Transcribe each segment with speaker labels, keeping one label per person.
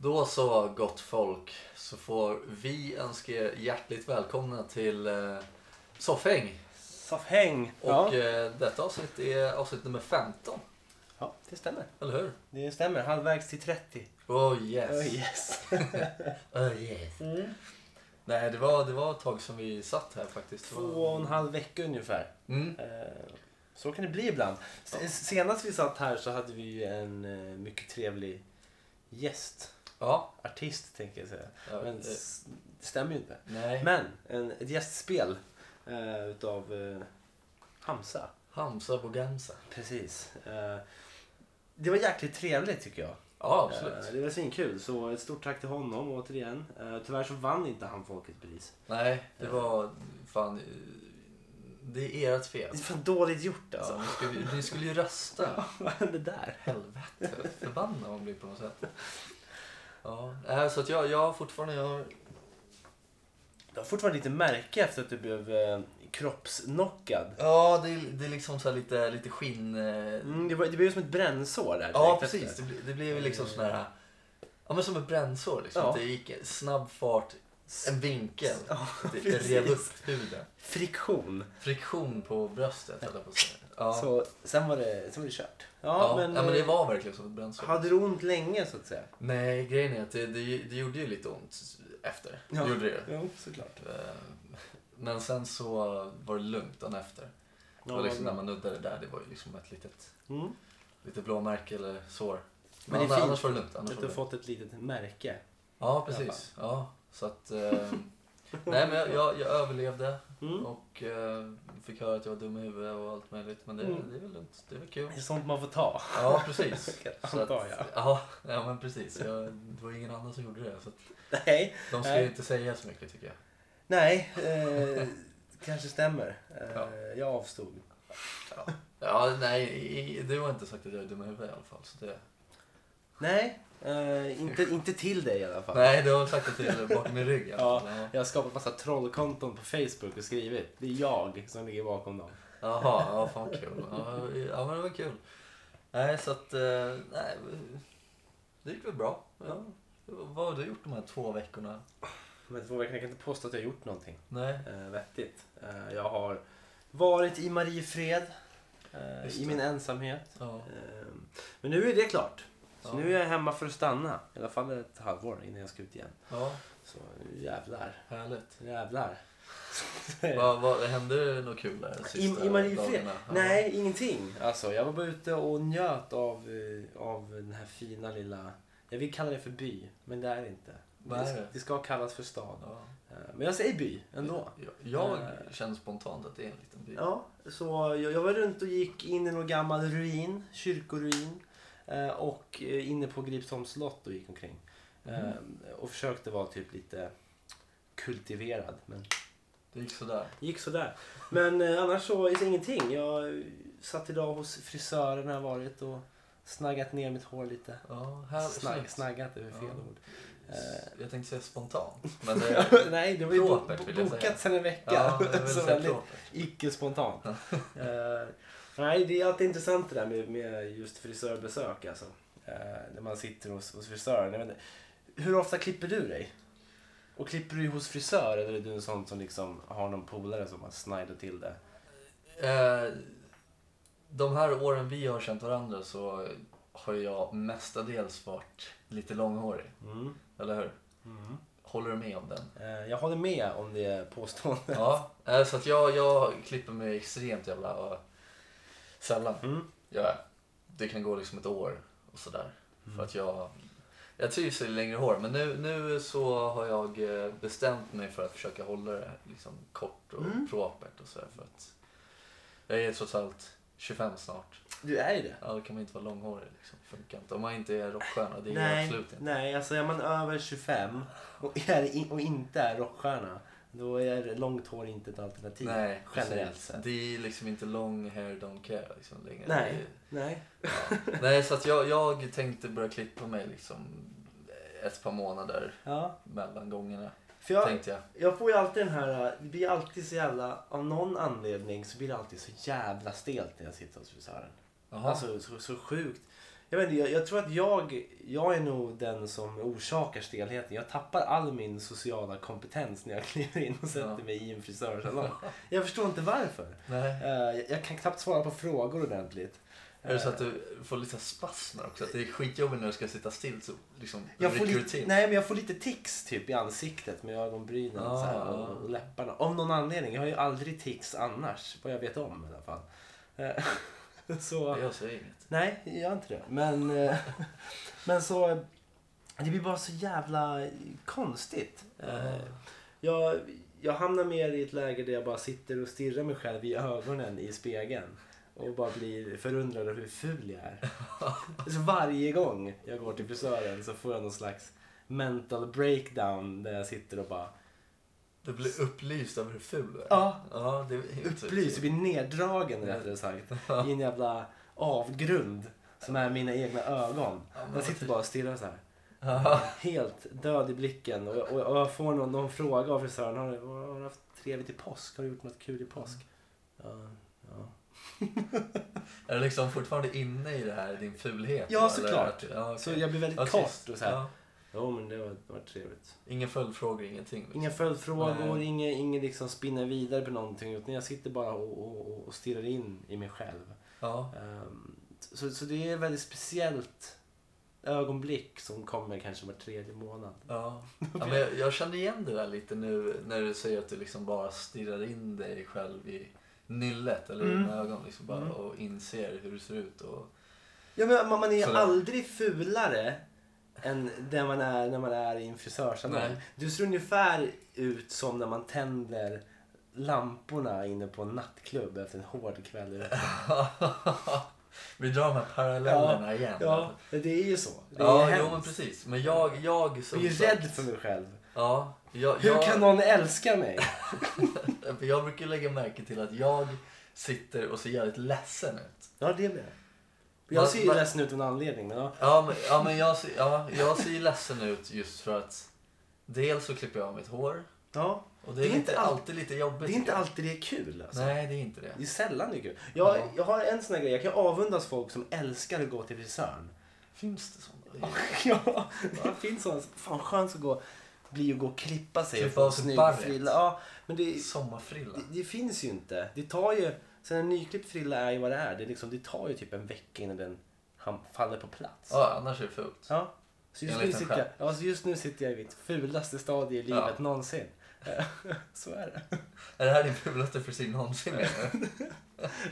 Speaker 1: Då så, gott folk, så får vi önska er hjärtligt välkomna till eh, Soffhäng.
Speaker 2: Soffhäng!
Speaker 1: Och
Speaker 2: Ja.
Speaker 1: eh, detta avsnitt är avsnitt nummer 15,
Speaker 2: ja, det stämmer.
Speaker 1: eller hur?
Speaker 2: Det stämmer. Halvvägs till 30.
Speaker 1: Oh yes!
Speaker 2: Oh, Mm. yes.
Speaker 1: Oh, yes. Nej, det var, det var ett tag som vi satt här faktiskt. Det var-
Speaker 2: Två och en halv vecka ungefär.
Speaker 1: Mm.
Speaker 2: Eh, Så kan det bli ibland. S- Senast vi satt här så hade vi ju en eh, mycket trevlig gäst.
Speaker 1: Ja.
Speaker 2: Artist tänker jag säga.
Speaker 1: ja,
Speaker 2: Men
Speaker 1: eh,
Speaker 2: s- det stämmer ju inte.
Speaker 1: nej.
Speaker 2: Men en, ett gästspel eh, utav eh, Hamsa.
Speaker 1: Hamsa Bogamsa.
Speaker 2: Precis. Eh, det var jäkligt trevligt tycker jag.
Speaker 1: Ja, absolut.
Speaker 2: Eh, Det var svinkul, så ett stort tack till honom återigen. Eh, Tyvärr så vann inte han Folkets pris.
Speaker 1: Nej, det var fan... eh, Det är ert fel.
Speaker 2: Det är fan dåligt gjort
Speaker 1: Alltså,
Speaker 2: alltså.
Speaker 1: ni, skulle, ni skulle ju rösta.
Speaker 2: Vad hände där?
Speaker 1: Helvete, förbannad man blir på något sätt. Ja, nej, så att jag, jag har fortfarande... Jag har,
Speaker 2: Du har fortfarande lite märke efter att du blev eh, kroppsnockad.
Speaker 1: ja, det är, det är liksom så här lite, lite skinn... eh,
Speaker 2: Mm, det, var, det blev ju som ett brännsår där.
Speaker 1: ja,
Speaker 2: direkt efter. Eh.
Speaker 1: precis. Det, blir- det blev ju liksom sån här... Ja, men som ett brännsår liksom.
Speaker 2: Ja.
Speaker 1: Att Det gick en snabb fart, en vinkel.
Speaker 2: Ja,
Speaker 1: Det
Speaker 2: precis.
Speaker 1: rev upp huden.
Speaker 2: Friktion.
Speaker 1: Friktion på bröstet, höll jag på att säga. Ja,
Speaker 2: Så sen var det, sen var det kört.
Speaker 1: ja, men, ja, men det
Speaker 2: eh,
Speaker 1: var verkligen som ett brännsår.
Speaker 2: Hade du ont länge så att säga?
Speaker 1: Nej, grejen är att det, det, det gjorde ju lite ont efter.
Speaker 2: Ja.
Speaker 1: Det gjorde det.
Speaker 2: Jo, såklart.
Speaker 1: Eh, Men sen så var det lugnt dagen efter. Det var liksom när man nuddade där, det var ju liksom ett litet,
Speaker 2: mm.
Speaker 1: litet blåmärke eller sår.
Speaker 2: Men
Speaker 1: Men
Speaker 2: det är
Speaker 1: annars,
Speaker 2: fint
Speaker 1: annars var det lugnt. Annars
Speaker 2: Att
Speaker 1: var
Speaker 2: du
Speaker 1: det
Speaker 2: har
Speaker 1: lugnt.
Speaker 2: fått ett litet märke.
Speaker 1: Ja,
Speaker 2: alla
Speaker 1: precis. Ja, så att, eh, nej men jag, jag, jag överlevde
Speaker 2: Mm.
Speaker 1: och eh, fick höra att jag var dum i huvudet och allt möjligt. Men det,
Speaker 2: Mm.
Speaker 1: det är väl lugnt, det är väl kul.
Speaker 2: Det är sånt man får ta.
Speaker 1: Ja, precis. Så att,
Speaker 2: Antar jag.
Speaker 1: ja, ja, men precis. Jag, det var ingen annan som gjorde det. Så att
Speaker 2: Nej,
Speaker 1: de ska
Speaker 2: Nej.
Speaker 1: inte säga så mycket tycker jag.
Speaker 2: nej. Eh, kanske stämmer. Eh,
Speaker 1: Ja.
Speaker 2: Jag avstod.
Speaker 1: Ja, nej, i- du har inte sagt att jag är dum i huvudet i alla fall. Så det...
Speaker 2: Nej, eh, inte, inte till dig i alla fall.
Speaker 1: Nej, du har sagt det till bakom min rygg. i alla fall. Ja.
Speaker 2: Jag har skapat massa trollkonton på Facebook och skrivit. Det är jag som ligger bakom dem.
Speaker 1: Jaha, ja, fan kul. Ja, ja, men det var kul. Nej, så att... eh, Nej, det gick väl bra. Ja. Vad har du gjort de här två veckorna?
Speaker 2: Men två veckor, jag kan inte påstå att jag har gjort någonting
Speaker 1: Nej.
Speaker 2: eh, vettigt. Eh, jag har varit i Mariefred. Eh,
Speaker 1: Just
Speaker 2: I
Speaker 1: det.
Speaker 2: min ensamhet.
Speaker 1: Ja.
Speaker 2: Eh, men nu är det klart. Så
Speaker 1: Ja.
Speaker 2: nu är jag hemma för att stanna. I alla fall ett halvår innan jag ska ut igen.
Speaker 1: ja,
Speaker 2: Så nu jävlar.
Speaker 1: härligt.
Speaker 2: Jävlar.
Speaker 1: Vad, vad, hände det något kul där
Speaker 2: I,
Speaker 1: sista
Speaker 2: Eh. I Mariefred?
Speaker 1: dagarna? Ja.
Speaker 2: Nej, ingenting. Alltså, jag var bara ute och njöt av, eh, av den här fina lilla... Jag vill kalla det för by, men det är det inte.
Speaker 1: Vad är
Speaker 2: det?
Speaker 1: det?
Speaker 2: det ska kallas för stad.
Speaker 1: Ja.
Speaker 2: Eh, Men jag säger by ändå. Eh.
Speaker 1: Jag, jag känner spontant att det är en liten by.
Speaker 2: Ja, så jag, jag var runt och gick in i någon gammal ruin, kyrkoruin. eh, Och eh, inne på Gripsholms slott och gick omkring.
Speaker 1: Mm.
Speaker 2: Eh, Och försökte vara typ lite kultiverad, men
Speaker 1: Det gick sådär.
Speaker 2: gick sådär. Men eh, annars så är det ingenting. Jag eh, satt idag hos frisören har jag varit och snaggat ner mitt hår lite.
Speaker 1: Ja, här,
Speaker 2: Snag,
Speaker 1: snyggt.
Speaker 2: snaggat är väl fel
Speaker 1: Ja.
Speaker 2: ord.
Speaker 1: S- Jag tänkte säga spontant. Men det,
Speaker 2: Nej, det var ju bo-
Speaker 1: Propert vill jag säga.
Speaker 2: bokat sedan en vecka.
Speaker 1: ja, det är väl
Speaker 2: så
Speaker 1: så här
Speaker 2: väldigt
Speaker 1: propert.
Speaker 2: icke-spontant. Eh, nej, det är alltid intressant det där med, med just frisörbesök alltså. Eh, när man sitter hos, hos frisören. Jag vet inte, hur ofta klipper du dig? Och klipper du hos frisör eller är du en sån som liksom har någon polare som har snidat till det?
Speaker 1: Eh, de här åren vi har känt varandra så har jag mestadels varit lite långhårig.
Speaker 2: Mm.
Speaker 1: Eller hur? Mm. Håller du med om den?
Speaker 2: Eh, Jag håller med om det påståendet.
Speaker 1: Ja. Eh, så att jag, jag klipper mig extremt jävla eh, sällan.
Speaker 2: Mm.
Speaker 1: Gör jag. det kan gå liksom ett år och sådär.
Speaker 2: Mm.
Speaker 1: För att jag, jag trivs i längre hår. Men nu, nu så har jag eh, bestämt mig för att försöka hålla det liksom kort och
Speaker 2: Mm.
Speaker 1: propert och sådär. För att jag är trots allt 25 snart.
Speaker 2: Du är ju det.
Speaker 1: Ja, då kan man inte vara långhårig. Liksom. Funkar inte. Om man inte är rockstjärna, det är jag
Speaker 2: nej,
Speaker 1: absolut inte.
Speaker 2: nej, alltså är man över 25 och, är, in- och inte är rockstjärna, då är långt hår inte ett alternativ.
Speaker 1: Nej,
Speaker 2: generellt
Speaker 1: precis.
Speaker 2: sett.
Speaker 1: Det är liksom inte long hair don't care liksom, längre.
Speaker 2: Nej, nej.
Speaker 1: Det är- nej, så att jag, jag tänkte börja klippa mig liksom ett par månader
Speaker 2: Ja.
Speaker 1: mellan gångerna.
Speaker 2: För jag,
Speaker 1: Tänkte jag.
Speaker 2: jag får ju alltid den här, eh, det blir alltid så jävla, av någon anledning Alltså, så blir det alltid så jävla stelt när jag sitter hos frisören.
Speaker 1: Jaha.
Speaker 2: Alltså så, så sjukt. Jag, vet inte, jag, jag tror att jag, jag är nog den som orsakar stelheten. Jag tappar all min sociala kompetens när jag kliver in och sätter
Speaker 1: Ja.
Speaker 2: mig i en frisörsalong. Jag förstår inte varför.
Speaker 1: Nej.
Speaker 2: Eh, jag- jag kan knappt svara på frågor ordentligt.
Speaker 1: Är det så att
Speaker 2: eh.
Speaker 1: du får lite spasmer också? Att det är skitjobbigt när du ska sitta still så liksom
Speaker 2: Jag får,
Speaker 1: rycker du
Speaker 2: lite,
Speaker 1: till?
Speaker 2: nej, men jag får lite tics typ i ansiktet med ögonbrynen
Speaker 1: Ah.
Speaker 2: så här, och, och läpparna. Av någon anledning. Jag har ju aldrig tics annars. Vad jag vet om i alla fall. Eh, så,
Speaker 1: Jag säger inget.
Speaker 2: Nej, jag gör inte det. Men, eh, men så... eh, Det blir bara så jävla konstigt. Eh, Jag, jag hamnar mer i ett läge där jag bara sitter och stirrar mig själv i ögonen i spegeln. Och bara blir förundrad över hur ful jag är. Så varje gång jag går till frisören så får jag någon slags mental breakdown där jag sitter och bara
Speaker 1: Du blir upplyst över hur ful du är.
Speaker 2: Ja.
Speaker 1: ja det är
Speaker 2: upplyst,
Speaker 1: Typ.
Speaker 2: jag blir neddragen rättare sagt. I en jävla avgrund som är mina egna ögon.
Speaker 1: men
Speaker 2: Jag
Speaker 1: vad
Speaker 2: sitter
Speaker 1: fint.
Speaker 2: bara och stirrar så här.
Speaker 1: Ja.
Speaker 2: Helt död i blicken och, och, och jag får någon, någon fråga av frisören. Har du, har du haft trevligt i påsk? Har du gjort något kul i påsk?
Speaker 1: Mm.
Speaker 2: Ja, ja.
Speaker 1: Är du liksom fortfarande inne i det här, din fulhet?
Speaker 2: Ja,
Speaker 1: eller?
Speaker 2: såklart.
Speaker 1: Ja, okej.
Speaker 2: Så jag blir väldigt
Speaker 1: Ja,
Speaker 2: kort
Speaker 1: tyst.
Speaker 2: och så här.
Speaker 1: Ja.
Speaker 2: Jo men det var, det var trevligt.
Speaker 1: Inga följdfrågor, ingenting. Liksom.
Speaker 2: Inga följdfrågor,
Speaker 1: Nej.
Speaker 2: inga, ingen liksom spinner vidare på någonting. Utan jag sitter bara och, och, och- och stirrar in i mig själv.
Speaker 1: Ja.
Speaker 2: Ehm, så, så det är ett väldigt speciellt ögonblick som kommer kanske var tredje månad.
Speaker 1: Ja. ja men jag, jag kände igen det där lite nu när du säger att du liksom bara stirrar in dig själv i nyllet eller i
Speaker 2: Mm.
Speaker 1: dina ögon liksom bara,
Speaker 2: Mm.
Speaker 1: och inser hur du ser ut. Och,
Speaker 2: Ja, men man, man är
Speaker 1: Sådär.
Speaker 2: aldrig fulare än den man är när man är i en frisörsalong.
Speaker 1: Nej.
Speaker 2: Du ser ungefär ut som när man tänder lamporna inne på en nattklubb efter en hård kväll. ute.
Speaker 1: Vi drar de här parallellerna
Speaker 2: Ja,
Speaker 1: igen.
Speaker 2: Ja, det är ju så. Det är
Speaker 1: ja jo,
Speaker 2: hemskt.
Speaker 1: men precis. Men jag, jag som
Speaker 2: Jag är ju
Speaker 1: sagt-
Speaker 2: rädd för mig själv.
Speaker 1: Ja, jag,
Speaker 2: Hur
Speaker 1: jag,
Speaker 2: kan någon älska mig?
Speaker 1: För jag brukar lägga märke till att jag sitter och ser jävligt ledsen ut.
Speaker 2: Ja, det blir jag. Jag
Speaker 1: Vad-
Speaker 2: ser ju
Speaker 1: vad-
Speaker 2: ledsen ut av en anledning. Men ja.
Speaker 1: Ja, men, ja, men jag, ser- ja, jag ser ju ledsen ut just för att dels så klipper jag av mitt hår
Speaker 2: Ja,
Speaker 1: och det är, inte
Speaker 2: all-
Speaker 1: alltid lite jobbigt.
Speaker 2: det är inte alltid det är kul. Alltså.
Speaker 1: Nej, det är inte det.
Speaker 2: Det är sällan det är kul. Jag,
Speaker 1: Ja.
Speaker 2: jag har en sån här grej. Jag kan avundas folk som älskar att gå till frisören.
Speaker 1: Finns det sådana?
Speaker 2: ja, det finns sådana. Fan skönt att gå, bli och gå och klippa sig.
Speaker 1: Klippa
Speaker 2: och få en
Speaker 1: av sig
Speaker 2: snygg
Speaker 1: barret.
Speaker 2: frilla. Ja, men det,
Speaker 1: Sommarfrilla.
Speaker 2: det, det finns ju inte. Det tar ju, sen en nyklippt frilla är ju vad det är. Det, är liksom, det tar ju typ en vecka innan den ham- faller på plats.
Speaker 1: Ja, annars är det fult.
Speaker 2: Ja. Så just, nu
Speaker 1: Enligt en
Speaker 2: sitter jag,
Speaker 1: själv.
Speaker 2: ja, så just nu sitter jag i mitt fulaste stadie i livet
Speaker 1: Ja.
Speaker 2: någonsin. så är det.
Speaker 1: Är det här din fulaste frisyr någonsin? menar du?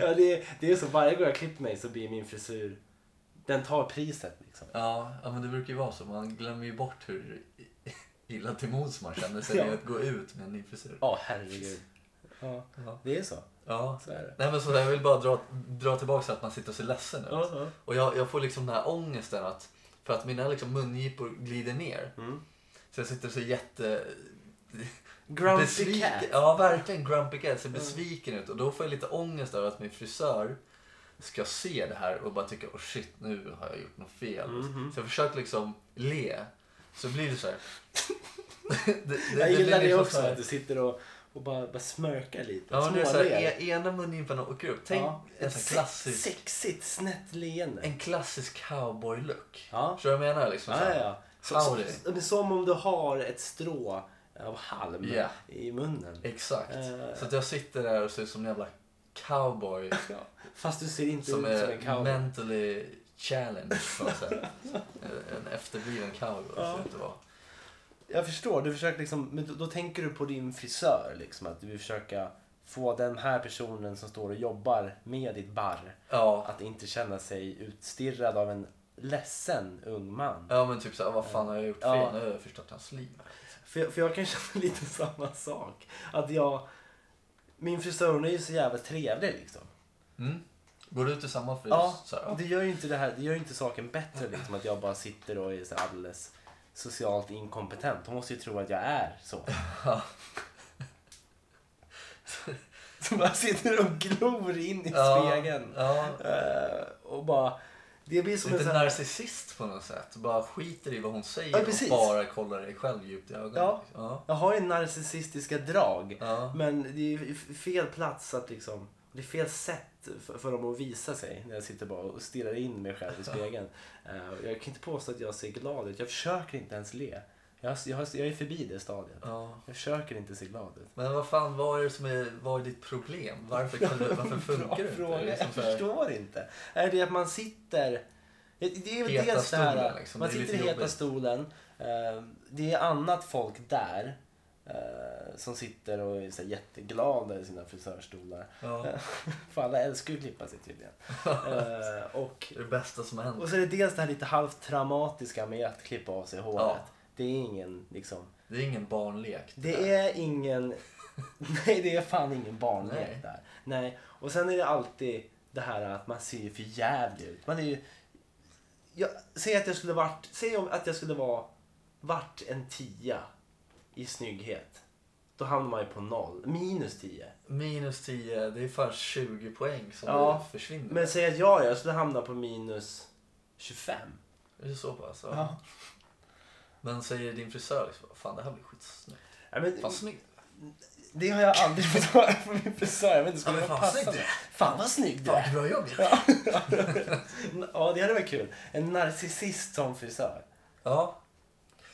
Speaker 2: Ja, det, är- det är så varje gång jag klipper mig så blir min frisyr, den tar priset liksom.
Speaker 1: Ja, ja, men det brukar ju vara så. Man glömmer ju bort hur illa till mods man känner sig
Speaker 2: Ja.
Speaker 1: med att gå ut med en ny frisyr.
Speaker 2: Ja, herregud. Ja,
Speaker 1: Ja.
Speaker 2: det är så.
Speaker 1: Ja.
Speaker 2: Så är det.
Speaker 1: Nej, men så jag vill bara dra, dra tillbaka så att man sitter och ser ledsen ut.
Speaker 2: Ja, ja.
Speaker 1: Och jag, jag får liksom den här ångesten att för att mina liksom mungipor glider ner.
Speaker 2: Mm.
Speaker 1: Så jag sitter så jätte...
Speaker 2: Grumpy
Speaker 1: besviken-
Speaker 2: cat. Mm.
Speaker 1: Ja, verkligen grumpy cat. Ser besviken ut. Och då får jag lite ångest över att min frisör ska se det här och bara tycka oh shit, nu har jag gjort något fel.
Speaker 2: Mhm.
Speaker 1: Så jag försöker liksom le. Så blir det så här. det, det,
Speaker 2: Jag gillar det
Speaker 1: liksom
Speaker 2: också
Speaker 1: så här-
Speaker 2: att du sitter och, och bara, bara smörkar lite.
Speaker 1: Ja, men det är så här,
Speaker 2: Småler.
Speaker 1: e- ena mungipan åker upp. Tänk
Speaker 2: Ja.
Speaker 1: en
Speaker 2: Ett
Speaker 1: sån här
Speaker 2: sex-
Speaker 1: klassisk,
Speaker 2: sexigt snett leende.
Speaker 1: en klassisk cowboy-look.
Speaker 2: Ja.
Speaker 1: Förstår du vad jag menar? Liksom, så
Speaker 2: Ja,
Speaker 1: här.
Speaker 2: ja, ja. Så,
Speaker 1: Howdy.
Speaker 2: så, men som om du har ett strå av halm
Speaker 1: Ja.
Speaker 2: i munnen.
Speaker 1: Exakt.
Speaker 2: Eh.
Speaker 1: Så att jag sitter där och ser ut som en jävla cowboy
Speaker 2: Ja. Fast du ser inte
Speaker 1: som
Speaker 2: ut som en
Speaker 1: är
Speaker 2: cowboy.
Speaker 1: mentally challenged på något sätt. En- En efterbliven cowboy
Speaker 2: Ja.
Speaker 1: ser det ut att vara.
Speaker 2: Jag förstår, du försöker liksom, men då, då tänker du på din frisör liksom. Att du vill försöka få den här personen som står och jobbar med ditt barr
Speaker 1: Ja.
Speaker 2: att inte känna sig utstirrad av en ledsen ung man.
Speaker 1: ja, men typ såhär, vad fan har jag gjort
Speaker 2: Ja.
Speaker 1: fel? Nu har jag förstört hans liv.
Speaker 2: För, jag- för jag kan känna lite samma sak. Att jag, min frisör hon är ju så jävla trevlig liksom.
Speaker 1: Mm. Går du ut i samma fris?
Speaker 2: Ja,
Speaker 1: så här,
Speaker 2: och det gör ju inte, det här, det gör ju inte saken bättre liksom, att jag bara sitter och är så alldeles socialt inkompetent. Hon måste ju tro att jag är så.
Speaker 1: Ja.
Speaker 2: Som bara sitter och glor in i spegeln.
Speaker 1: Ja.
Speaker 2: Eh, och bara... Det blir som en
Speaker 1: Lite
Speaker 2: sån här...
Speaker 1: narcissist på något sätt. Bara skiter i vad hon säger
Speaker 2: Ja,
Speaker 1: och
Speaker 2: precis.
Speaker 1: bara kollar dig själv djupt i ögonen. liksom.
Speaker 2: Ja.
Speaker 1: Ja.
Speaker 2: Jag har ju narcissistiska drag.
Speaker 1: Ja.
Speaker 2: Men det är ju f- fel plats att liksom... Det är fel sätt för, för dem att visa sig när jag sitter bara och stirrar in mig själv i spegeln. Eh, och jag kan inte påstå att jag ser glad ut. Jag försöker inte ens le. Jag, har- jag, har- jag är förbi det stadiet.
Speaker 1: Ja.
Speaker 2: Jag försöker inte se glad ut.
Speaker 1: Men vad fan, vad är, det som är, vad är ditt problem? Varför, kan du, varför
Speaker 2: Bra
Speaker 1: funkar du inte?
Speaker 2: fråga.
Speaker 1: Det är
Speaker 2: Jag
Speaker 1: liksom så här-
Speaker 2: förstår inte. Är det att man sitter... Det är väl
Speaker 1: Heta
Speaker 2: dels det här,
Speaker 1: stolen, liksom.
Speaker 2: man
Speaker 1: Det är
Speaker 2: sitter i
Speaker 1: lite
Speaker 2: heta
Speaker 1: jobbigt.
Speaker 2: stolen. eh, Det är annat folk där eh, som sitter och är så här jätteglada i sina frisörstolar.
Speaker 1: Ja,
Speaker 2: För alla älskar ju att klippa sig tydligen. Eh, och,
Speaker 1: det är det bästa som har hänt.
Speaker 2: och så är det dels det här lite halvt traumatiska med att klippa av sig håret.
Speaker 1: Ja.
Speaker 2: Det är ingen liksom...
Speaker 1: Det är ingen barnlek.
Speaker 2: Det är ingen... Nej, det är fan ingen barnlek
Speaker 1: Nej.
Speaker 2: där. Nej. Och sen är det alltid det här att man ser ju för jävligt ut. Man är ju... Jag, säg att jag skulle varit... Säg om att jag skulle vara... Vart en tia i snygghet. Då hamnar man ju på noll. Minus tio.
Speaker 1: Minus 10, det är fan 20 poäng som
Speaker 2: Ja,
Speaker 1: det försvinner.
Speaker 2: Men säg att jag, jag skulle hamna på minus 25.
Speaker 1: Är det så pass? Ja. Men säger din frisör liksom, fan det här blir skitsnyggt.
Speaker 2: Ja, men,
Speaker 1: Fan snyggt.
Speaker 2: det har jag aldrig fått höra från min frisör. Jag vet inte, skulle
Speaker 1: Ja,
Speaker 2: det
Speaker 1: men fan,
Speaker 2: passa?
Speaker 1: snygg du
Speaker 2: mig?
Speaker 1: är.
Speaker 2: Fan vad snygg du är.
Speaker 1: Fan vilket bra jobb ja.
Speaker 2: Ja. ja, det hade varit kul. En narcissist som frisör.
Speaker 1: ja.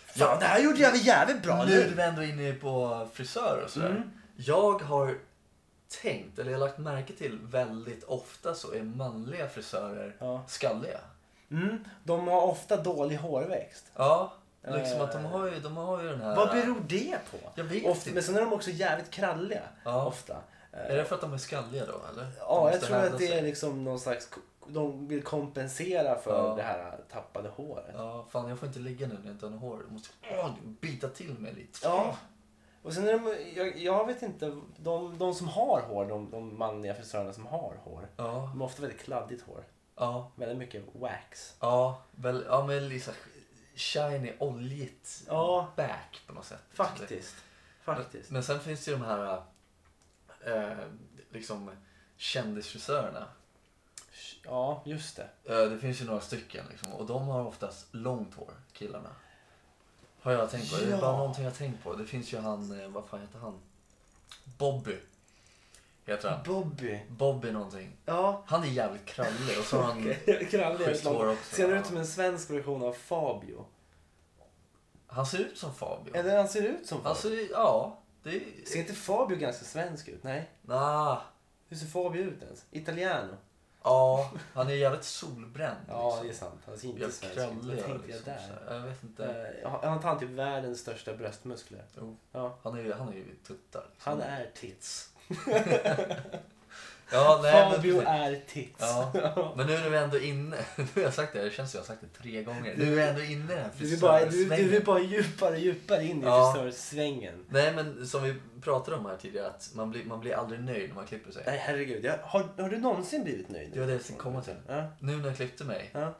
Speaker 2: Fan, det här gjorde jag väl jävligt bra
Speaker 1: nu är
Speaker 2: nu.
Speaker 1: vi ändå inne på frisörer och sådär.
Speaker 2: Mm.
Speaker 1: Jag har tänkt, eller jag har lagt märke till väldigt ofta så är manliga frisörer
Speaker 2: Ja.
Speaker 1: skalliga.
Speaker 2: Mm, de har ofta dålig hårväxt.
Speaker 1: Ja, liksom
Speaker 2: Eh.
Speaker 1: att de har ju, de har ju den här...
Speaker 2: Vad beror det på?
Speaker 1: Jag vet
Speaker 2: ofta,
Speaker 1: inte.
Speaker 2: men sen är de också jävligt kralliga.
Speaker 1: Ja.
Speaker 2: Ofta.
Speaker 1: Är
Speaker 2: Eh,
Speaker 1: det för att de är skalliga då eller? De
Speaker 2: Ja, jag
Speaker 1: måste
Speaker 2: tror att
Speaker 1: hävda
Speaker 2: det är
Speaker 1: sig.
Speaker 2: liksom någon slags... De vill kompensera för
Speaker 1: Ja.
Speaker 2: det här tappade håret.
Speaker 1: Ja, fan jag får inte ligga nu när jag inte har något hår. Jag måste åh, bita till mig lite.
Speaker 2: Ja. Och sen är de, jag, jag vet inte, de, de som har hår, de, de manliga frisörerna som har hår,
Speaker 1: Ja,
Speaker 2: de har ofta väldigt kladdigt hår.
Speaker 1: ja,
Speaker 2: Väldigt mycket wax.
Speaker 1: ja, väl, ja men liksom shiny, oljigt
Speaker 2: Ja.
Speaker 1: back på något sätt. Liksom.
Speaker 2: Faktiskt. Faktiskt.
Speaker 1: Men, men sen finns det ju de här eh, liksom kändisfrisörerna.
Speaker 2: Ja, just det.
Speaker 1: Eh, det finns ju några stycken liksom, och de har oftast långt hår, killarna. Har jag tänkt på. Det är
Speaker 2: Ja.
Speaker 1: bara någonting jag har tänkt på. Det finns ju han, eh, vad fan heter han? Bobby. Heter han.
Speaker 2: Bobby.
Speaker 1: Bobby någonting.
Speaker 2: Ja.
Speaker 1: Han är jävligt krallig och så har han, Schysst hår
Speaker 2: Krallig.
Speaker 1: också,
Speaker 2: Ser
Speaker 1: ja.
Speaker 2: ut som en svensk version av Fabio.
Speaker 1: han ser ut som Fabio.
Speaker 2: Eller han ser ut som Fabio.
Speaker 1: Alltså ja, det är...
Speaker 2: Ser inte Fabio ganska svensk ut? Nej.
Speaker 1: Nah,
Speaker 2: Hur ser Fabio ut ens? Italiano?
Speaker 1: ja, han är jävligt solbränd.
Speaker 2: Ja, det är
Speaker 1: liksom.
Speaker 2: sant. Han ser inte
Speaker 1: Jävligt
Speaker 2: svensk ut.
Speaker 1: krallig.
Speaker 2: Vad tänkte jag
Speaker 1: liksom, så
Speaker 2: där?
Speaker 1: här. jag vet inte.
Speaker 2: Eh, Har har inte han typ världens största bröstmuskler?
Speaker 1: Jo,
Speaker 2: Ja.
Speaker 1: han är ju, han är ju tuttar. liksom.
Speaker 2: Han är tits.
Speaker 1: Ja, nej, men
Speaker 2: Fabio
Speaker 1: precis.
Speaker 2: är tits.
Speaker 1: Ja. Men nu är vi ändå inne. Nu har jag sagt det, det känns som jag har sagt det tre gånger. Nu är vi ändå inne i den här
Speaker 2: Du, är bara, du, du är
Speaker 1: frisörsvängen.
Speaker 2: bara djupare och djupare in i
Speaker 1: Ja.
Speaker 2: frisörsvängen.
Speaker 1: Nej men som vi pratade om här tidigare, att man blir, man blir aldrig nöjd när man klipper sig.
Speaker 2: Nej, herregud. Jag, har, har du någonsin blivit nöjd?
Speaker 1: Det var det jag skulle komma till.
Speaker 2: Ja.
Speaker 1: Nu när jag klippte mig,
Speaker 2: Ja.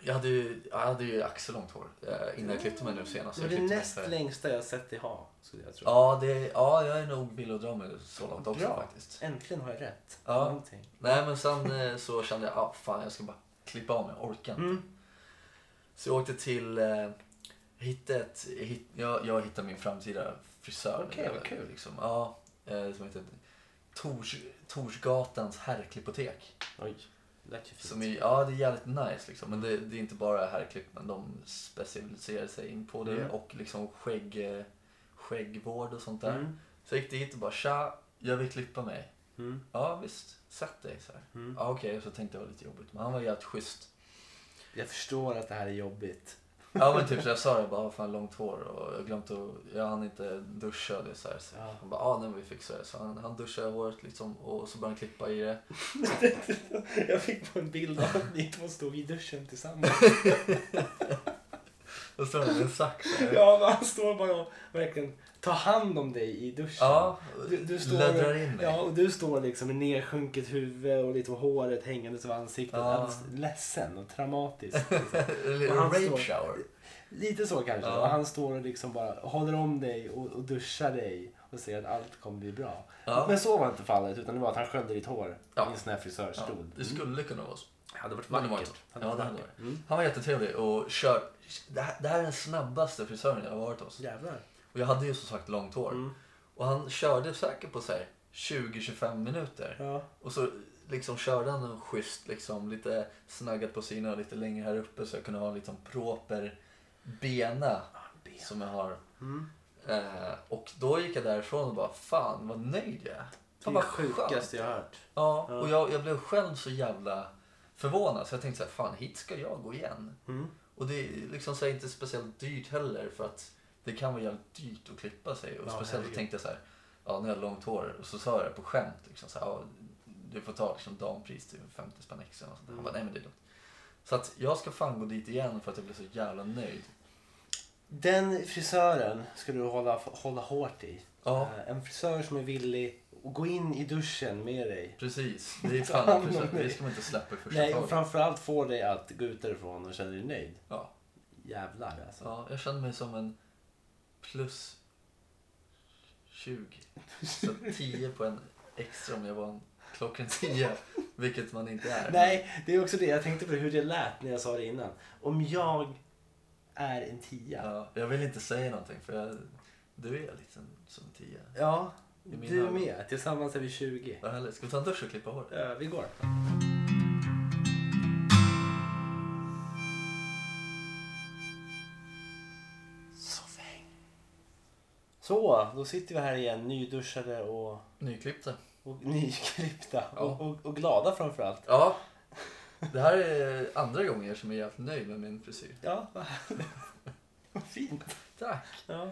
Speaker 1: jag hade ju, jag hade ju axellångt hår eh, innan jag klippte mig nu senast.
Speaker 2: Det var
Speaker 1: Jag
Speaker 2: det
Speaker 1: klippte mig
Speaker 2: näst
Speaker 1: för-
Speaker 2: längsta jag sett dig ha, skulle jag tro.
Speaker 1: Ja, det, ja, jag är nog villig att dra mig så långt också
Speaker 2: Bra.
Speaker 1: faktiskt.
Speaker 2: Äntligen har jag rätt.
Speaker 1: Ja.
Speaker 2: Någonting.
Speaker 1: Nej, men sen eh, så kände jag, ah, fan jag ska bara klippa av mig, jag orkar inte.
Speaker 2: Mm.
Speaker 1: Så jag åkte till, eh, hittade ett, hit, jag, jag hittade min framtida frisör. nu,
Speaker 2: Okej, vad
Speaker 1: eller,
Speaker 2: kul.
Speaker 1: Liksom. Ja, eh, som heter Tors, Torsgatans herrklippotek.
Speaker 2: Oj, det lät ju fint.
Speaker 1: Som är, ja, det är jävligt nice liksom. Men det, det är inte bara herrklipp, men de specialiserar sig in på det
Speaker 2: Mm.
Speaker 1: och liksom skägg, eh, skäggvård och sånt där.
Speaker 2: Mm.
Speaker 1: Så jag gick dit och bara tja, jag vill klippa mig.
Speaker 2: Mm.
Speaker 1: Ja visst, sätt dig så här.
Speaker 2: Mm.
Speaker 1: Ja okej, så tänkte jag det var lite jobbigt. Men han var jävligt schysst.
Speaker 2: Jag förstår att det här är jobbigt.
Speaker 1: Ja men typ så jag sa det, jag bara "Ah, fan långt hår och jag glömt att, jag hann inte duscha det så här. Så
Speaker 2: Ja.
Speaker 1: Han bara ja nej men vi fixar det. Så han, han duschade håret liksom och så började han klippa i det.
Speaker 2: jag fick på en bild av att ni två stod i duschen tillsammans.
Speaker 1: Och så hade han en sax. så här.
Speaker 2: ja, men han står bara och verkligen tar hand om dig i duschen.
Speaker 1: Ja,
Speaker 2: Du- du står-
Speaker 1: löddrar in mig.
Speaker 2: Ja, och du står liksom med nedsjunket huvud och lite håret hängandes av ansiktet.
Speaker 1: Ja.
Speaker 2: Alldeles ledsen och traumatisk. liksom.
Speaker 1: Eller
Speaker 2: Och han
Speaker 1: rape
Speaker 2: står-
Speaker 1: shower.
Speaker 2: Lite så kanske.
Speaker 1: Ja.
Speaker 2: Och han står och liksom bara håller om dig och, och duschar dig och säger att allt kommer bli bra.
Speaker 1: Ja.
Speaker 2: Men så var inte fallet utan det var att han sköljde ditt hår
Speaker 1: Ja.
Speaker 2: i en sån här
Speaker 1: Ja,
Speaker 2: frisörstol.
Speaker 1: det skulle kunna vara så.
Speaker 2: Mm. hade varit
Speaker 1: Men det var inte. Ja, det hade varit.
Speaker 2: Mm.
Speaker 1: Han var jättetrevlig och kör. Det här, det här är den snabbaste frisören jag har varit hos.
Speaker 2: Jävlar. Mm.
Speaker 1: Och jag hade ju som sagt långt hår. Och han körde säkert på så här 20-25 minuter.
Speaker 2: Ja.
Speaker 1: Och så liksom körde han en schysst, liksom, lite snaggat på sidan och lite längre här uppe så jag kunde ha liksom proper bena som jag har.
Speaker 2: Ah, Mm.
Speaker 1: Eh, och då gick jag därifrån och bara, fan vad nöjd jag är.
Speaker 2: Det
Speaker 1: Fan,
Speaker 2: är det
Speaker 1: vad skönt.
Speaker 2: sjukaste jag har hört.
Speaker 1: Ja,
Speaker 2: Ja.
Speaker 1: och jag, jag blev själv så jävla förvånad så jag tänkte så här, fan hit ska jag gå igen.
Speaker 2: Mm.
Speaker 1: Och det är liksom så här, inte speciellt dyrt heller för att det kan vara jävligt dyrt att klippa sig. Och
Speaker 2: Ja,
Speaker 1: speciellt
Speaker 2: herregud.
Speaker 1: då tänkte jag så här, ja nu har jag långt hår. Och så sa jag det på skämt liksom så här, ja, du får ta liksom dampris till 50 spänn extra. Och sånt. där. Han bara, nej men det är lugnt. Så att jag ska fan gå dit igen för att jag blev så jävla nöjd.
Speaker 2: Den frisören ska du hålla, hålla hårt i.
Speaker 1: Ja,
Speaker 2: Eh, En frisör som är villig att gå in i duschen med dig.
Speaker 1: precis. Det är
Speaker 2: Fan,
Speaker 1: fan,
Speaker 2: vad
Speaker 1: precis.
Speaker 2: nöjd.
Speaker 1: det ska man inte släppa i första
Speaker 2: Nej, och
Speaker 1: taget.
Speaker 2: framförallt få dig att gå ut därifrån och känna dig nöjd.
Speaker 1: Ja,
Speaker 2: Jävlar alltså.
Speaker 1: ja, jag känner mig som en plus 20. Så 10 på en extra om jag var en klockan 10. Vilket man inte är.
Speaker 2: Nej, det är också det. Jag tänkte på hur det lät när jag sa det innan. Om jag är en tia.
Speaker 1: Ja, jag vill inte säga någonting för jag, du är lite som en tia.
Speaker 2: Ja,
Speaker 1: I min
Speaker 2: du
Speaker 1: hand.
Speaker 2: med. Tillsammans är vi 20.
Speaker 1: Vad härligt. Ska vi ta en dusch och klippa håret?
Speaker 2: Ja, vi går. Så, då sitter vi här igen nyduschade och,
Speaker 1: Nyklippta.
Speaker 2: och nyklippta.
Speaker 1: Ja.
Speaker 2: Och, och, och glada framförallt.
Speaker 1: Ja. Det här är andra gången som jag är jävligt nöjd med min frisyr.
Speaker 2: Ja, vad härligt. Vad fint.
Speaker 1: Tack.
Speaker 2: Ja.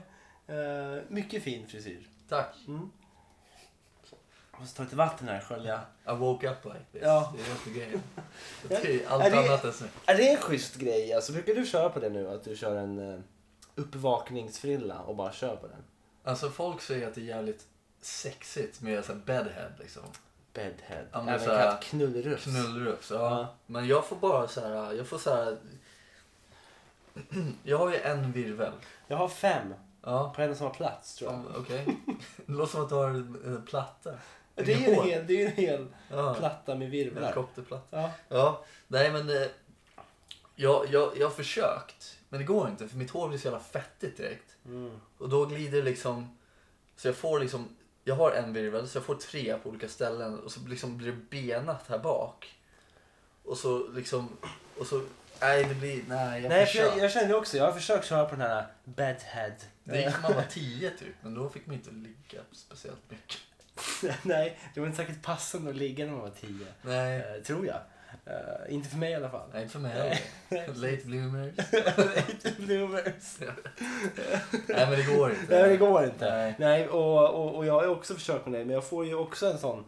Speaker 2: Eh, mycket fin frisyr.
Speaker 1: Tack.
Speaker 2: Mm. Jag måste ta lite vatten här skölja.
Speaker 1: I woke up like this.
Speaker 2: Ja.
Speaker 1: Det är inte grejen.
Speaker 2: Ja,
Speaker 1: Det är
Speaker 2: är
Speaker 1: allt
Speaker 2: det-
Speaker 1: annat än snyggt.
Speaker 2: Är det en schysst grej? Alltså, brukar du köra på det nu? Att du kör en eh, uppvakningsfrilla och bara kör på den?
Speaker 1: Alltså folk säger att det är jävligt sexigt med så här bedhead liksom.
Speaker 2: Bedhead.
Speaker 1: Ja, men
Speaker 2: Även
Speaker 1: så här-
Speaker 2: kallat knullrufs.
Speaker 1: Knullrufs. Ja.
Speaker 2: Ja.
Speaker 1: Men jag får bara så här, jag får så här. Jag har ju en virvel.
Speaker 2: Jag har fem
Speaker 1: Ja.
Speaker 2: på en och samma plats tror jag.
Speaker 1: Ja, Okej. Det låter som att du har en, en platta.
Speaker 2: det, är ju en
Speaker 1: hår.
Speaker 2: hel, det är ju en hel
Speaker 1: Ja.
Speaker 2: platta med virvlar.
Speaker 1: Helikopterplatta.
Speaker 2: Ja.
Speaker 1: Ja, nej men eh, jag, jag, jag har försökt. Men det går inte för mitt hår blir så jävla fettigt direkt.
Speaker 2: Mm.
Speaker 1: Och då glider det liksom. Så jag får liksom. Jag har en virvel så jag får tre på olika ställen. Och så liksom blir det benat här bak. Och så liksom. Och så. Nej det blir. Nej jag
Speaker 2: Nej, för
Speaker 1: försöker.
Speaker 2: jag, jag känner ju också, jag har försökt köra på den här bedhead.
Speaker 1: Det gick när man var tio typ. Men då fick man inte ligga speciellt mycket.
Speaker 2: Nej, det var inte särskilt passande att ligga när man var tio.
Speaker 1: Nej.
Speaker 2: Eh, tror jag. Eh, inte för mig i alla fall.
Speaker 1: Nej inte för mig heller. Late bloomers.
Speaker 2: Late bloomers.
Speaker 1: Nej men det går inte.
Speaker 2: Nej, men det går inte. Nej,
Speaker 1: Nej.
Speaker 2: och, och, och jag har ju också försökt med det, men jag får ju också en sån...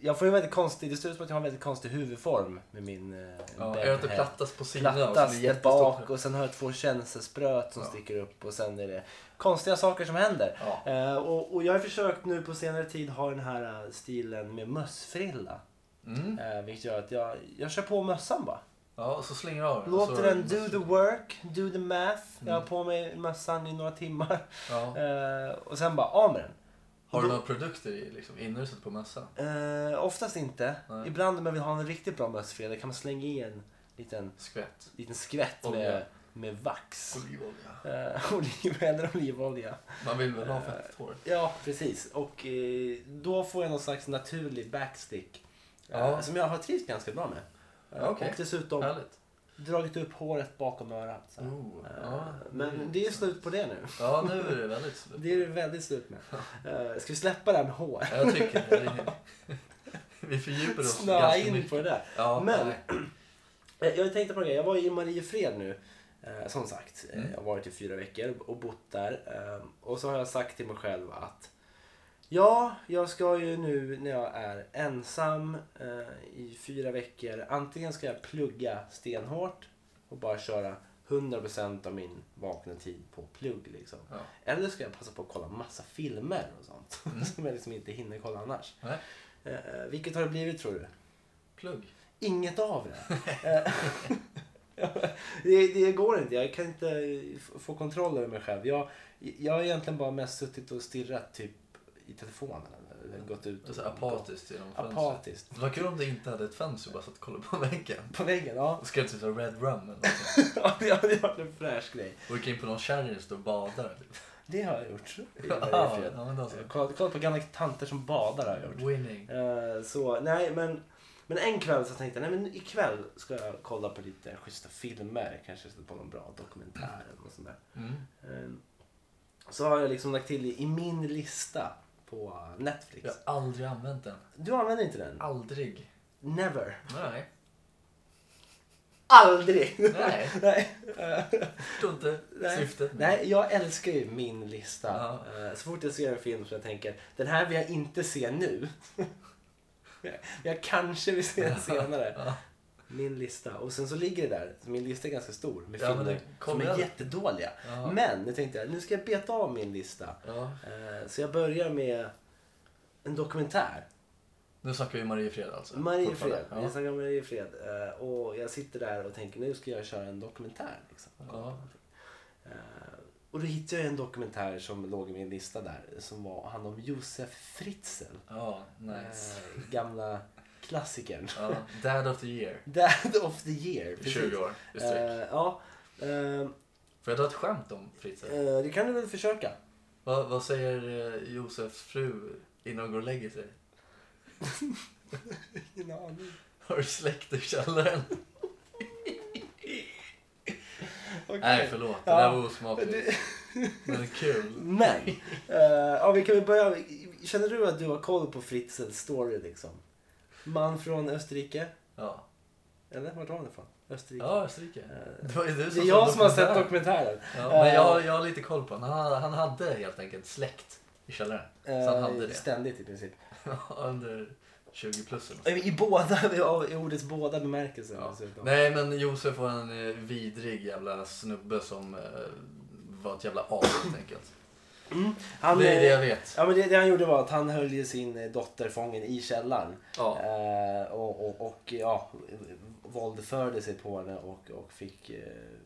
Speaker 2: Jag får ju en väldigt konstig... Det ser ut som att jag har en väldigt konstig huvudform med min eh,
Speaker 1: Ja,
Speaker 2: bädd
Speaker 1: är det att det
Speaker 2: här.
Speaker 1: plattas på sidan och så
Speaker 2: Plattas
Speaker 1: blir det
Speaker 2: där bak och sen har jag två känselspröt som
Speaker 1: Ja.
Speaker 2: sticker upp och sen är det konstiga saker som händer.
Speaker 1: Ja.
Speaker 2: Eh, och, och jag har försökt nu på senare tid ha den här eh, stilen med mössfrilla.
Speaker 1: Mm.
Speaker 2: Eh, vilket gör att jag, jag kör på mössan bara.
Speaker 1: Ja, och så slänger du av den.
Speaker 2: Låter
Speaker 1: så...
Speaker 2: den do the work, do the math. Jag har
Speaker 1: Mm.
Speaker 2: på mig mössan i några timmar.
Speaker 1: Ja.
Speaker 2: Eh, och sen bara av med den.
Speaker 1: Har du några produkter i, liksom, innan du sätter på mössan?
Speaker 2: Eh, oftast inte.
Speaker 1: Nej.
Speaker 2: Ibland om man vill ha en riktigt bra mössfrilla kan man slänga i en liten,
Speaker 1: Skvätt.
Speaker 2: liten skvätt
Speaker 1: Olja.
Speaker 2: med, med vax.
Speaker 1: Olivolja.
Speaker 2: Eh, oliv eller olivolja.
Speaker 1: Man vill väl ha fettigt hår?
Speaker 2: Ja, precis. Och eh, då får jag någon slags naturlig backstick. eh,
Speaker 1: Ja.
Speaker 2: Som jag har trivts ganska bra med. Eh,
Speaker 1: Okej.
Speaker 2: Och dessutom
Speaker 1: Härligt.
Speaker 2: dragit upp håret bakom örat. Så. här.
Speaker 1: Oh,
Speaker 2: Eh,
Speaker 1: ja.
Speaker 2: Men det är slut på det nu.
Speaker 1: Ja, nu är det väldigt slut.
Speaker 2: Det är det väldigt slut med. Eh, Ska vi släppa det här med hår?
Speaker 1: Ja, Jag tycker det. Vi fördjupar oss
Speaker 2: Snöa
Speaker 1: ganska
Speaker 2: in
Speaker 1: mycket.
Speaker 2: på det där.
Speaker 1: Ja,
Speaker 2: Men-
Speaker 1: nej.
Speaker 2: Eh, Jag tänkte på en grej. Jag var i Mariefred nu. eh, Som sagt, Eh,
Speaker 1: Mm.
Speaker 2: jag har varit i fyra veckor och bott där. Eh, Och så har jag sagt till mig själv att ja, jag ska ju nu när jag är ensam eh, i fyra veckor. Antingen ska jag plugga stenhårt och bara köra 100% av min vakna tid på plugg. Liksom.
Speaker 1: Ja.
Speaker 2: Eller ska jag passa på att kolla massa filmer och sånt som jag liksom inte hinner kolla annars.
Speaker 1: Mm. Nej.
Speaker 2: Eh, Vilket har det blivit tror du?
Speaker 1: Plugg.
Speaker 2: Inget av det. Eh, det, det går inte. Jag kan inte f- få kontroll över mig själv. Jag, jag har egentligen bara mest suttit och stirrat typ i telefonen. Eller, eller gått ut
Speaker 1: Det är så apatiskt genom fönstret.
Speaker 2: Alltså, Apatiskt.
Speaker 1: Vad kul om du inte hade ett fönster och bara satt och kollade på väggen.
Speaker 2: På väggen, ja.
Speaker 1: Och skrev typ så här red rum eller något.
Speaker 2: Ja, det hade varit en fräsch grej.
Speaker 1: Och gick in på någon kärring och stod och badade.
Speaker 2: Det har jag gjort. i
Speaker 1: Ja,
Speaker 2: Mariefred.
Speaker 1: ja, men då så.
Speaker 2: Kollat kollat på gamla tanter som badar har jag gjort.
Speaker 1: Winning.
Speaker 2: Eh, Så nej men, men en kväll så tänkte jag nej men ikväll ska jag kolla på lite schyssta filmer. Kanske sätta på någon bra dokumentär eller något sånt där.
Speaker 1: Mm.
Speaker 2: Eh, Så har jag liksom lagt till i, i min lista på Netflix.
Speaker 1: Jag har aldrig använt den.
Speaker 2: Du använder inte den?
Speaker 1: Aldrig.
Speaker 2: Never.
Speaker 1: Nej.
Speaker 2: Aldrig!
Speaker 1: Nej.
Speaker 2: nej. eh,
Speaker 1: Förstår inte
Speaker 2: Nej.
Speaker 1: syftet. med
Speaker 2: nej, jag älskar ju min lista. Eh, Så fort jag ser en film som jag tänker den här vill jag inte se nu. jag kanske vill se den senare.
Speaker 1: Ja.
Speaker 2: Min lista. Och sen så ligger det där. Så Min lista är ganska stor med
Speaker 1: Ja, men
Speaker 2: filmer
Speaker 1: det
Speaker 2: som
Speaker 1: kommer
Speaker 2: är
Speaker 1: jag-
Speaker 2: jättedåliga.
Speaker 1: Ja.
Speaker 2: Men nu tänkte jag, nu ska jag beta av min lista.
Speaker 1: Ja.
Speaker 2: Eh, Så jag börjar med en dokumentär.
Speaker 1: Nu snackar vi Mariefred alltså.
Speaker 2: Mariefred.
Speaker 1: Fortfarande.
Speaker 2: Jag snackar om Mariefred. Eh, Och jag sitter där och tänker, nu ska jag köra en dokumentär. Liksom.
Speaker 1: Ja.
Speaker 2: Eh, Och då hittade jag en dokumentär som låg i min lista där. Som var, handlade om Josef Fritzl.
Speaker 1: Ja. ja, nice.
Speaker 2: Eh, Gamla klassikern.
Speaker 1: Ja. Dad of the year.
Speaker 2: Dad of the year.
Speaker 1: I
Speaker 2: precis.
Speaker 1: 20 år i sträck.
Speaker 2: Eh, Ja. Eh,
Speaker 1: Får jag dra ett skämt om Fritz?
Speaker 2: Eh, Det kan du väl försöka?
Speaker 1: Vad, vad säger eh, Josefs fru innan hon går och lägger sig?
Speaker 2: Ingen aning.
Speaker 1: Har du släckt i källaren?
Speaker 2: Okej.
Speaker 1: Nej, förlåt. Det
Speaker 2: Ja.
Speaker 1: där var osmakligt. Men kul.
Speaker 2: Men, eh, ja, vi kan väl börja. Känner du att du har koll på Fritzels story liksom? Man från Österrike?
Speaker 1: Ja,
Speaker 2: Eller vart var han ifrån? Österrike?
Speaker 1: ja Österrike. Det var ju du
Speaker 2: Eh. Det
Speaker 1: som
Speaker 2: är
Speaker 1: såg
Speaker 2: jag som har sett Eh.
Speaker 1: dokumentären.
Speaker 2: dokumentären.
Speaker 1: Ja, men jag, har- jag har lite koll på honom. Han, han hade helt enkelt släkt i källaren. Så han hade
Speaker 2: Eh,
Speaker 1: det.
Speaker 2: Ständigt i princip.
Speaker 1: Under 20 plus eller nåt.
Speaker 2: I båda, i ordets båda bemärkelser.
Speaker 1: Ja.
Speaker 2: dessutom.
Speaker 1: Nej men Josef var en eh, vidrig jävla snubbe som eh, var ett jävla as helt enkelt.
Speaker 2: Han,
Speaker 1: det är det
Speaker 2: eh,
Speaker 1: jag vet.
Speaker 2: Ja, men det, det han gjorde var att han höll ju sin eh, dotter fången i källaren.
Speaker 1: Ja.
Speaker 2: Eh, och, och, och ja, våldförde sig på henne och, och fick eh,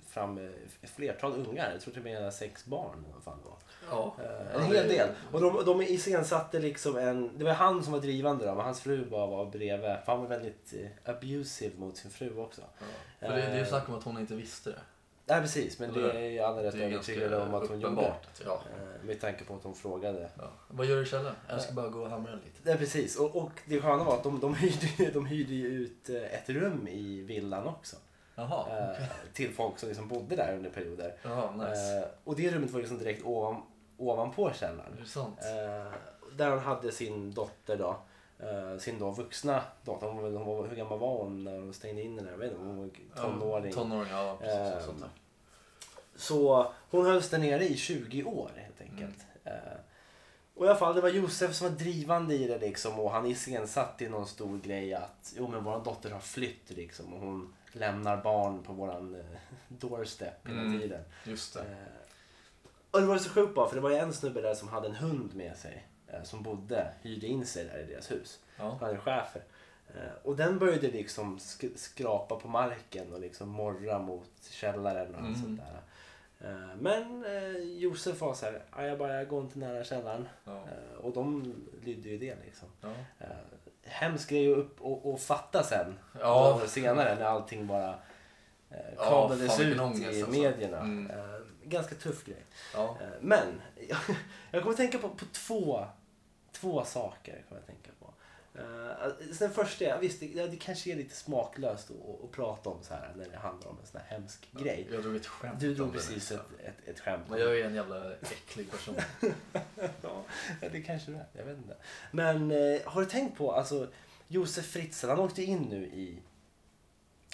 Speaker 2: fram eh, ett flertal ungar. Jag tror till och med sex barn. Vad fan det var.
Speaker 1: ja.
Speaker 2: Eh, en hel del. Och de, de iscensatte liksom en... Det var han som var drivande då, men hans fru bara var bredvid. För han var väldigt eh, abusive mot sin fru också.
Speaker 1: Ja. För det,
Speaker 2: Eh.
Speaker 1: det är ju snack om att hon inte visste det.
Speaker 2: Nej precis, men
Speaker 1: Eller
Speaker 2: det
Speaker 1: hur?
Speaker 2: är ju alla rätt
Speaker 1: Det är ju
Speaker 2: övertygade om att hon gjorde.
Speaker 1: uppenbart. Ja.
Speaker 2: Eh, med tanke på att hon frågade.
Speaker 1: Ja. Vad gör du i källaren?
Speaker 2: Eh.
Speaker 1: Jag ska bara gå och hamra lite.
Speaker 2: Nej precis, och, och det sköna var att de, de, hyrde, ju- de hyrde ju ut eh, ett rum i villan också.
Speaker 1: Jaha,
Speaker 2: Eh,
Speaker 1: okej.
Speaker 2: Till folk som liksom bodde där under perioder.
Speaker 1: Jaha, nice.
Speaker 2: Eh, och det rummet var liksom direkt ovan, ovanpå källaren.
Speaker 1: Intressant.
Speaker 2: Eh, där han hade sin dotter då. Eh, sin då vuxna dotter. Hon, var väl- hon var, hur gammal var hon när de stängde in henne? Jag vet inte, hon var tonåring.
Speaker 1: Ja, tonåring, ja precis.
Speaker 2: Eh,
Speaker 1: sånt där.
Speaker 2: Så hon hölls där nere i 20 år helt
Speaker 1: Mm.
Speaker 2: enkelt. Eh, och i alla fall, det var Josef som var drivande i det liksom och han iscensatte i någon stor grej att jo men vår dotter har flytt liksom och hon lämnar barn på våran eh, doorstep hela
Speaker 1: Mm.
Speaker 2: tiden.
Speaker 1: Just det.
Speaker 2: Eh, och det var så sjukt bara för det var ju en snubbe där som hade en hund med sig eh, som bodde, hyrde in sig där i deras hus.
Speaker 1: Ja.
Speaker 2: Han är chefer. Eh, Och den började liksom sk- skrapa på marken och liksom morra mot källaren och allt
Speaker 1: Mm.
Speaker 2: sånt där. Eh, Men eh, Josef var så här, "Aj, jag bara jag går inte nära källaren.
Speaker 1: Ja.
Speaker 2: Eh, Och de lydde ju det liksom.
Speaker 1: Ja.
Speaker 2: Eh, Hemsk grej att upp och, och fatta sen.
Speaker 1: Ja.
Speaker 2: Några år senare när allting bara eh,
Speaker 1: Ja,
Speaker 2: kablades
Speaker 1: fan,
Speaker 2: ut
Speaker 1: vilken ångest
Speaker 2: i
Speaker 1: alltså.
Speaker 2: medierna.
Speaker 1: Mm.
Speaker 2: Eh, Ganska tuff grej.
Speaker 1: ja.
Speaker 2: Eh, Men jag kommer att tänka på, på två, två saker. Kommer jag att tänka på. Eh, Den första är, visst det, ja, det kanske är lite smaklöst att- att, att prata om så här när det handlar om en sån här hemsk grej.
Speaker 1: Jag drog ett skämt.
Speaker 2: Du
Speaker 1: om
Speaker 2: drog
Speaker 1: det
Speaker 2: precis
Speaker 1: nyss,
Speaker 2: ett, ett, ett skämt.
Speaker 1: ja. Men jag är en jävla äcklig person.
Speaker 2: Ja, det kanske det är. Jag vet inte. Men eh, har du tänkt på, alltså Josef Fritzl, han åkte in nu i,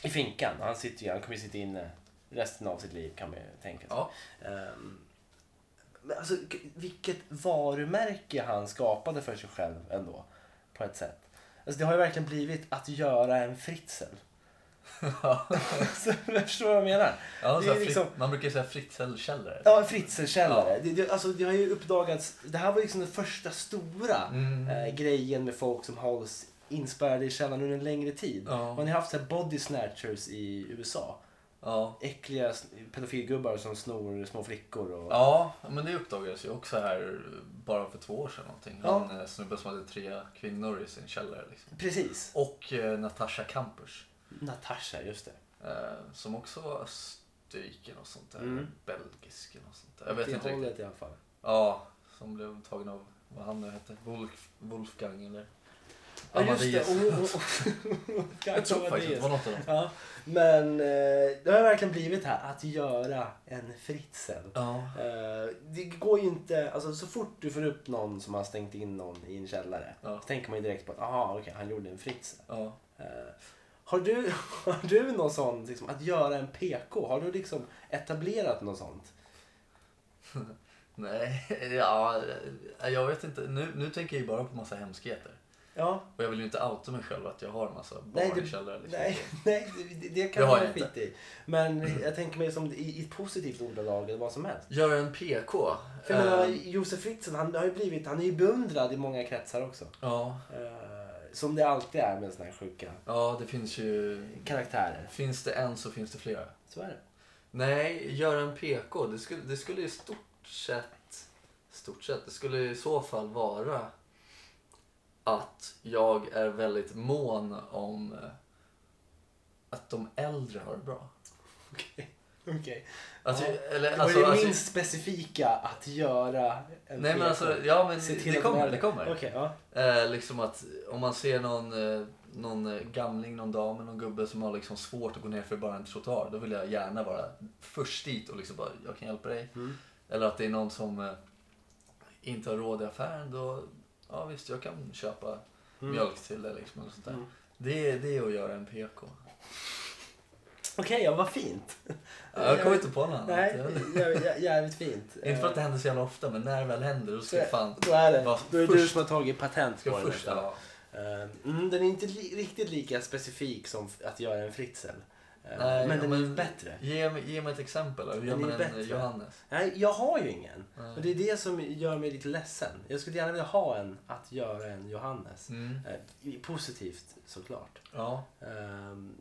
Speaker 2: i finkan. Han, sitter, ju- han kommer ju sitta inne resten av sitt liv kan man ju tänka sig.
Speaker 1: Ja.
Speaker 2: Ehm, men alltså, k- vilket varumärke han skapade för sig själv ändå. På ett sätt. Alltså, det har ju verkligen blivit att göra en Fritzl. alltså, förstår du vad jag menar?
Speaker 1: Ja,
Speaker 2: Det
Speaker 1: så
Speaker 2: är
Speaker 1: här,
Speaker 2: liksom-
Speaker 1: Fritz- Man brukar ju säga Fritzl-källare.
Speaker 2: Ja, en Fritzl-källare. Det, det, alltså, det har ju uppdagats. Det här var liksom den första stora
Speaker 1: Mm.
Speaker 2: eh, grejen med folk som hålls inspärrade i källaren under en längre tid.
Speaker 1: Ja.
Speaker 2: Man har ju haft så här body snatchers i USA.
Speaker 1: Ja.
Speaker 2: Äckliga s- pedofilgubbar som snor små flickor. Och...
Speaker 1: Ja, men det uppdagades ju också här bara för två år sedan någonting.
Speaker 2: Ja.
Speaker 1: Han eh, snubben som hade tre kvinnor i sin källare. Liksom.
Speaker 2: Precis.
Speaker 1: Och eh, Natasha Kampusch.
Speaker 2: Natasha, just det.
Speaker 1: Eh, som också var österriken och sånt där.
Speaker 2: Mm.
Speaker 1: Belgisk och sånt där. Jag vet
Speaker 2: det
Speaker 1: inte riktigt.
Speaker 2: hållet i alla fall.
Speaker 1: Ja, som blev tagen av, vad han nu hette, Wolf, Wolfgang eller?
Speaker 2: Ja, just det.
Speaker 1: Amadeus.
Speaker 2: Och, och, och.
Speaker 1: Jag tror faktiskt att det var något av dem.
Speaker 2: Ja, men eh, det har verkligen blivit här att göra en Fritzen.
Speaker 1: Ja.
Speaker 2: Eh, det går ju inte, alltså så fort du får upp någon som har stängt in någon i en källare.
Speaker 1: Ja.
Speaker 2: Så tänker man ju direkt på att, aha okej, han gjorde en Fritzen.
Speaker 1: ja.
Speaker 2: Eh, har, du, har du någon sån, liksom, att göra en PK? Har du liksom etablerat något sånt?
Speaker 1: Nej, ja, jag vet inte. Nu, nu tänker jag ju bara på massa hemskheter.
Speaker 2: Ja.
Speaker 1: Och jag vill ju inte outa mig själv att jag har en massa
Speaker 2: Nej,
Speaker 1: barn
Speaker 2: det-
Speaker 1: i källaren. Liksom.
Speaker 2: Nej, nej det, det kan
Speaker 1: Det har
Speaker 2: vara
Speaker 1: jag
Speaker 2: skit i. Men jag tänker mig som i, i ett positivt ordalag eller vad som helst.
Speaker 1: Göra en PK.
Speaker 2: För jag menar,
Speaker 1: Eh,
Speaker 2: Josef Fritzen, han har ju blivit, han är ju beundrad i många kretsar också.
Speaker 1: ja,
Speaker 2: Eh, som det alltid är med sådana här sjuka
Speaker 1: ja, det finns ju...
Speaker 2: karaktärer.
Speaker 1: Finns det en så finns det flera.
Speaker 2: Så är det.
Speaker 1: Nej, göra en PK. Det skulle, det skulle i stort sett... Stort sett. Det skulle i så fall vara att jag är väldigt mån om eh, att de äldre har det bra.
Speaker 2: Okej. Okej.
Speaker 1: Alltså,
Speaker 2: Ja.
Speaker 1: eller,
Speaker 2: Det var
Speaker 1: alltså,
Speaker 2: ju
Speaker 1: alltså,
Speaker 2: minst specifika att göra en
Speaker 1: Nej men
Speaker 2: PK.
Speaker 1: alltså, ja men
Speaker 2: Se till
Speaker 1: det
Speaker 2: att de är
Speaker 1: kommer,
Speaker 2: det.
Speaker 1: det kommer.
Speaker 2: Okej, ja.
Speaker 1: Eh, liksom att om man ser någon, eh, någon eh, gamling, någon dam eller någon gubbe som har liksom svårt att gå ner för bara en trottoar. Då vill jag gärna vara först dit och liksom bara, jag kan hjälpa dig.
Speaker 2: Mm.
Speaker 1: Eller att det är någon som eh, inte har råd i affären. Då, ja visst jag kan köpa
Speaker 2: Mm.
Speaker 1: mjölk till dig liksom. Eller sånt där.
Speaker 2: Mm.
Speaker 1: Det, är- det är att göra en PK.
Speaker 2: Okej, ja vad fint.
Speaker 1: Ja, Jag kommer inte på något annat.
Speaker 2: Eh, Nej,
Speaker 1: Jag vet inte.
Speaker 2: jä- jä- jävligt fint. Eh,
Speaker 1: Inte för att det händer så jävla ofta men när det väl händer då ska jag fan...
Speaker 2: Då är det.
Speaker 1: vara
Speaker 2: Då är det du
Speaker 1: först.
Speaker 2: som har tagit patent
Speaker 1: Ska
Speaker 2: på den.
Speaker 1: först,
Speaker 2: nästan.
Speaker 1: ja.
Speaker 2: Eh, Mm, den är inte li- riktigt lika specifik som f- att göra en fritzel. Eh,
Speaker 1: Nej,
Speaker 2: men den är ju
Speaker 1: men-
Speaker 2: bättre.
Speaker 1: Ge, mig- ge mig ett exempel då. Hur gör
Speaker 2: Den är
Speaker 1: man en
Speaker 2: bättre.
Speaker 1: eh, Johannes?
Speaker 2: Nej, jag har ju ingen.
Speaker 1: Nej.
Speaker 2: Och det är det som gör mig lite ledsen. Jag skulle gärna vilja ha en att göra en Johannes.
Speaker 1: Mm.
Speaker 2: Eh, i- Positivt såklart.
Speaker 1: Ja,
Speaker 2: Ehm,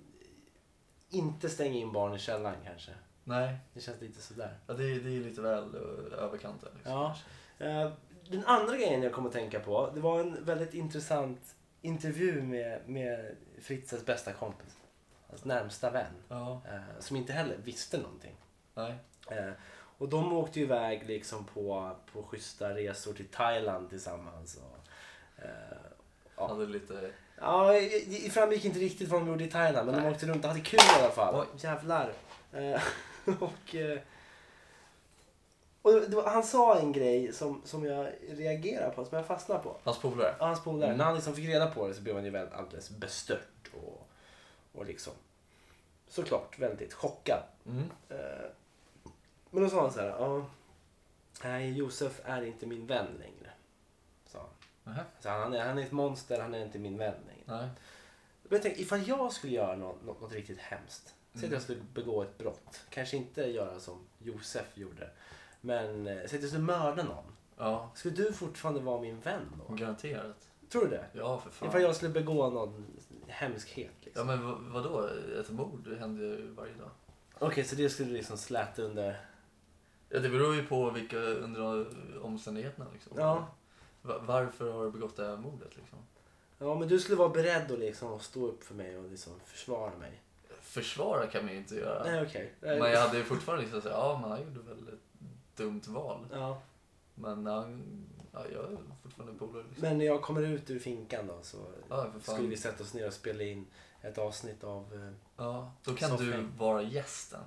Speaker 2: inte stänga in barn i källaren kanske.
Speaker 1: nej.
Speaker 2: Det känns lite sådär.
Speaker 1: Ja, det, är, det är lite väl eh, överkant där. Liksom.
Speaker 2: Ja. Eh, den andra grejen jag kom att tänka på. Det var en väldigt intressant intervju med, med Fritzes bästa kompis. Hans närmsta vän.
Speaker 1: ja.
Speaker 2: eh, som inte heller visste någonting.
Speaker 1: Nej.
Speaker 2: Eh, och de åkte ju iväg liksom på, på schyssta resor till Thailand tillsammans. Och, eh, Ja.
Speaker 1: Hade lite...
Speaker 2: ja, det- det framgick inte riktigt vad de gjorde i Thailand men de
Speaker 1: Nej.
Speaker 2: åkte runt och hade kul i alla fall.
Speaker 1: Oj.
Speaker 2: Jävlar. Eh, och eh, och det var, han sa en grej som, som jag reagerar på, som jag fastnar på.
Speaker 1: Hans polare.
Speaker 2: Ja, hans polare.
Speaker 1: Mm.
Speaker 2: När han liksom fick reda på det så blev han ju väldigt alldeles bestört och, och liksom såklart väldigt chockad.
Speaker 1: Mm.
Speaker 2: Eh, Men då sa han så här. Ja, nej, Josef är inte min vän längre. Sa han.
Speaker 1: Nähä.
Speaker 2: Så han, är, han är ett monster, han är inte min vän längre.
Speaker 1: Nej.
Speaker 2: Men jag tänkte, ifall jag skulle göra något, något, något riktigt hemskt. Säg att
Speaker 1: Mm.
Speaker 2: jag skulle begå ett brott. Kanske inte göra som Josef gjorde. Men eh, säg att jag skulle mörda någon.
Speaker 1: Ja,
Speaker 2: Skulle du fortfarande vara min vän då?
Speaker 1: garanterat.
Speaker 2: Tror du det?
Speaker 1: Ja, för fan.
Speaker 2: Ifall jag skulle begå någon hemskhet
Speaker 1: Ja,
Speaker 2: liksom.
Speaker 1: men vad, vadå? Ett mord det händer ju varje dag.
Speaker 2: Okej, så det skulle du liksom släta under...
Speaker 1: Ja, det beror ju på vilka under omständigheterna liksom.
Speaker 2: Ja.
Speaker 1: Va- Varför har du begått det här mordet liksom?
Speaker 2: Ja, men du skulle vara beredd att liksom stå upp för mig och liksom försvara mig.
Speaker 1: Försvara kan man ju inte göra.
Speaker 2: Nej, okej. Nej.
Speaker 1: Men jag hade ju fortfarande liksom såhär, ja men han gjorde väl ett dumt val.
Speaker 2: Ja.
Speaker 1: Men han, ja, jag är fortfarande polare liksom.
Speaker 2: Men när jag kommer ut ur finkan då så
Speaker 1: Ja, för fan.
Speaker 2: skulle vi sätta oss ner och spela in ett avsnitt av... eh,
Speaker 1: Ja, då kan
Speaker 2: Så
Speaker 1: du
Speaker 2: fint.
Speaker 1: vara gästen.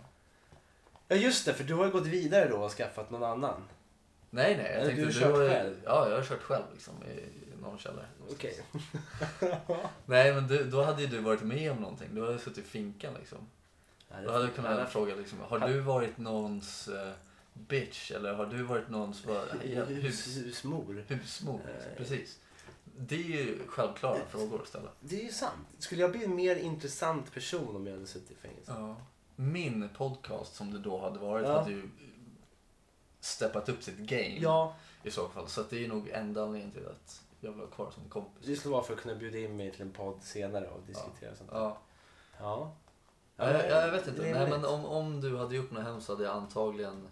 Speaker 2: Ja just det, för du har ju gått vidare då och skaffat någon annan.
Speaker 1: Nej, nej. Jag
Speaker 2: Eller
Speaker 1: tänkte
Speaker 2: du har
Speaker 1: du
Speaker 2: kört
Speaker 1: har,
Speaker 2: själv?
Speaker 1: Ja, jag har kört själv liksom i i någon källare.
Speaker 2: Okej.
Speaker 1: Nej, men du, då hade ju du varit med om någonting. Du hade suttit i finkan liksom.
Speaker 2: Okay.
Speaker 1: Då hade du kunnat fråga liksom, har du varit någons eh, bitch? Eller har du varit någons vad, hus,
Speaker 2: Husmor.
Speaker 1: husmor? Liksom.
Speaker 2: Eh.
Speaker 1: Precis. Det är ju självklara frågor att ställa.
Speaker 2: Det är ju sant. Skulle jag bli en mer intressant person om jag hade suttit i fängelse?
Speaker 1: Min podcast som det då hade varit
Speaker 2: Ja.
Speaker 1: hade ju steppat upp sitt game
Speaker 2: Ja,
Speaker 1: i så fall. Så att det är nog enda anledningen till att jag var kvar som kompis.
Speaker 2: det skulle vara för att kunna bjuda in mig till en podd senare och diskutera sånt.
Speaker 1: Ja.
Speaker 2: Ja.
Speaker 1: Ja, jag, jag vet
Speaker 2: det
Speaker 1: inte.
Speaker 2: är
Speaker 1: Nej,
Speaker 2: rimligt.
Speaker 1: men om, om du hade gjort något hemskt hade jag antagligen...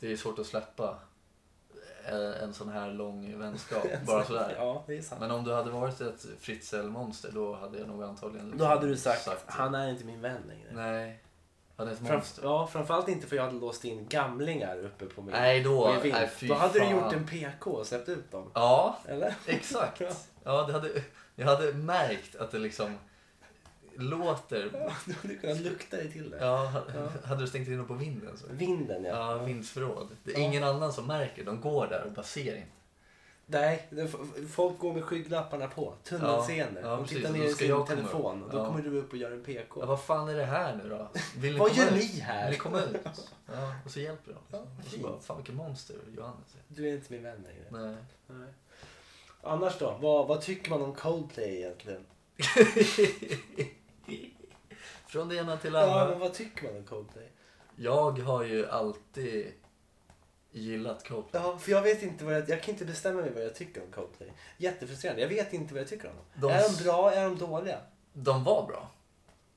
Speaker 1: Det är svårt att släppa en, en sån här lång vänskap bara sådär.
Speaker 2: Ja, det är sant.
Speaker 1: Men om du hade varit ett Fritzl-monster då hade jag nog antagligen...
Speaker 2: Då hade du sagt,
Speaker 1: sagt-
Speaker 2: han är inte min vän längre.
Speaker 1: Nej. Han är ett monster.
Speaker 2: Framf- ja, framförallt inte för jag hade låst in gamlingar uppe på min
Speaker 1: Nej, då-
Speaker 2: på min vind.
Speaker 1: nej, fy
Speaker 2: Då hade
Speaker 1: fan.
Speaker 2: du gjort en PK och släppt ut dem.
Speaker 1: Ja,
Speaker 2: Eller?
Speaker 1: exakt. Ja, det hade, jag hade märkt att det liksom låter...
Speaker 2: Du hade kunnat lukta dig till det.
Speaker 1: Ja, hade du stängt in dem på vinden så?
Speaker 2: Vinden ja.
Speaker 1: Ja, vindsförråd. Det är ingen annan som märker. De går där och bara ser inte.
Speaker 2: Nej, det, f- folk går med skygglapparna på. Tunnelseende.
Speaker 1: Ja, ja,
Speaker 2: de
Speaker 1: precis.
Speaker 2: tittar
Speaker 1: Och
Speaker 2: ner
Speaker 1: då
Speaker 2: i
Speaker 1: ska
Speaker 2: sin
Speaker 1: jag komma
Speaker 2: telefon.
Speaker 1: upp.
Speaker 2: Och då
Speaker 1: Ja.
Speaker 2: kommer du upp och gör en PK.
Speaker 1: Ja, vad fan är det här nu då? Vill
Speaker 2: Vad
Speaker 1: komma
Speaker 2: gör
Speaker 1: ut?
Speaker 2: ni här?
Speaker 1: Vill ni komma ut? Ja, och så hjälper de.
Speaker 2: Ja,
Speaker 1: och så
Speaker 2: fint.
Speaker 1: bara, fan vilken monster Johannes är.
Speaker 2: Du är inte min vän längre.
Speaker 1: Nej.
Speaker 2: Nej. Annars då? Vad, vad tycker man om Coldplay egentligen?
Speaker 1: Från det ena till det
Speaker 2: Ja,
Speaker 1: andra.
Speaker 2: men vad tycker man om Coldplay?
Speaker 1: Jag har ju alltid gillat Coldplay.
Speaker 2: Ja, för jag vet inte vad jag, jag kan inte bestämma mig vad jag tycker om Coldplay. Jättefrustrerande. Jag vet inte vad jag tycker om dem.
Speaker 1: De-
Speaker 2: Är de bra? Är de dåliga?
Speaker 1: De var bra.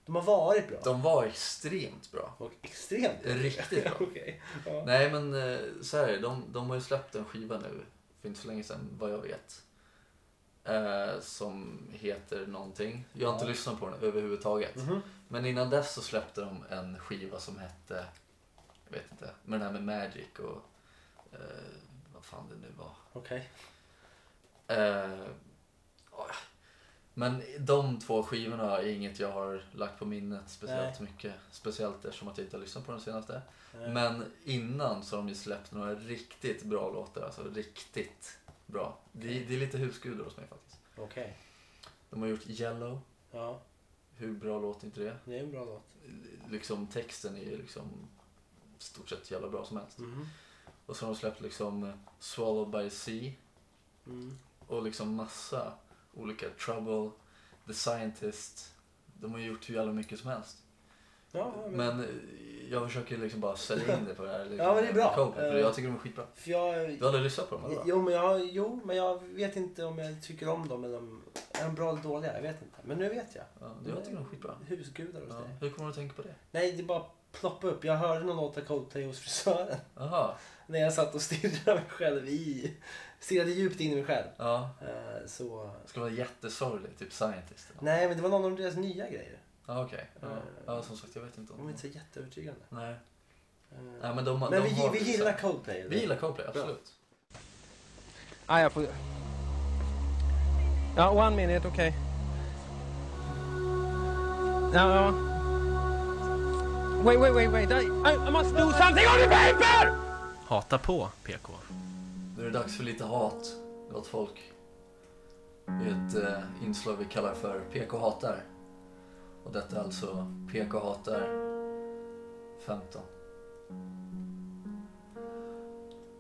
Speaker 2: De har varit bra.
Speaker 1: De Eh. var extremt bra.
Speaker 2: Och extremt bra.
Speaker 1: Riktigt bra.
Speaker 2: Okej. Ja.
Speaker 1: Nej men eh, så här är det. de, de har ju släppt en skiva nu för inte så länge sedan vad jag vet. Eh, som heter någonting. Jag har inte
Speaker 2: Ja.
Speaker 1: lyssnat på den överhuvudtaget.
Speaker 2: Mhm.
Speaker 1: Men innan dess så släppte de en skiva som hette, jag vet inte, med den här med Magic och eh, vad fan det nu var.
Speaker 2: Okej.
Speaker 1: Eh, ja. men de två skivorna är inget jag har lagt på minnet speciellt mycket. Speciellt eftersom att jag inte har lyssnat på den senaste.
Speaker 2: Nej.
Speaker 1: Men innan så har de ju släppt några riktigt bra låtar. Alltså riktigt bra. Det, det är lite husgudar hos mig faktiskt.
Speaker 2: Okej.
Speaker 1: De har gjort Yellow.
Speaker 2: Ja,
Speaker 1: Hur bra låt är inte det?
Speaker 2: det är en bra låt.
Speaker 1: Liksom texten är ju liksom stort sett jävla bra som helst.
Speaker 2: Mhm.
Speaker 1: Och så har de släppt liksom Swallow by Sea.
Speaker 2: Mm.
Speaker 1: och liksom massa olika Trouble, The Scientist. De har gjort hur jävla mycket som helst.
Speaker 2: Ja, ja, men...
Speaker 1: Men eh, jag försöker liksom bara sälja in det på det här. Liksom,
Speaker 2: Ja, men det är bra.
Speaker 1: Coldplay, För
Speaker 2: Eh.
Speaker 1: jag tycker de är skitbra.
Speaker 2: För jag...
Speaker 1: Du har aldrig lyssnat på dem eller?
Speaker 2: Jo men, jag, jo, men jag vet inte om jag tycker om dem eller om... Är de bra eller dåliga? Jag vet inte. Men nu vet jag.
Speaker 1: Ja, jag tycker de är skitbra.
Speaker 2: Husgudar hos
Speaker 1: Ja.
Speaker 2: dig.
Speaker 1: Hur kommer du att tänka på det?
Speaker 2: Nej, det bara ploppade upp. Jag hörde någon låt av Coldplay hos frisören.
Speaker 1: Jaha,
Speaker 2: När jag satt och stirrade mig själv i... Stirrade djupt in i mig själv.
Speaker 1: ja.
Speaker 2: Eh, Så...
Speaker 1: Det ska vara jättesorglig, typ Scientist. eller nåt.
Speaker 2: Nej, men det var någon av deras nya grejer.
Speaker 1: Ja, okej. Ja.
Speaker 2: Eh.
Speaker 1: ja, som sagt, jag vet inte om
Speaker 2: De var inte så jätteövertygande.
Speaker 1: Nej.
Speaker 2: Eh,
Speaker 1: Nej, men de,
Speaker 2: Men
Speaker 1: de
Speaker 2: vi,
Speaker 1: har
Speaker 2: vi
Speaker 1: vissa-
Speaker 2: gillar Coldplay. eller?
Speaker 1: Vi gillar Coldplay, absolut.
Speaker 2: Ah, jag får... Ja, one minute, okej. Ja, ja. Wait, wait, wait, wait. I, I must do something on the paper! Hata på, PK.
Speaker 1: Nu är det dags för lite hat, gott folk. Det är ett eh, inslag vi kallar för PK hatar. Och detta är alltså PK hatar 15.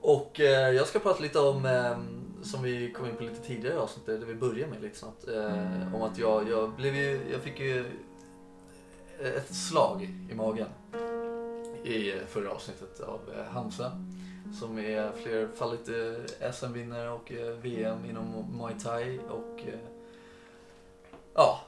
Speaker 1: Och eh, jag ska prata lite om, eh, som vi kom in på lite tidigare i avsnittet, det vi började med lite snabbt. Eh, om att jag, jag, blev ju, jag fick ju eh, ett slag i magen i förra avsnittet av eh, Hamza som är flerfaldigt eh, SM-vinnare och eh, VM inom Muay Thai och eh, ja,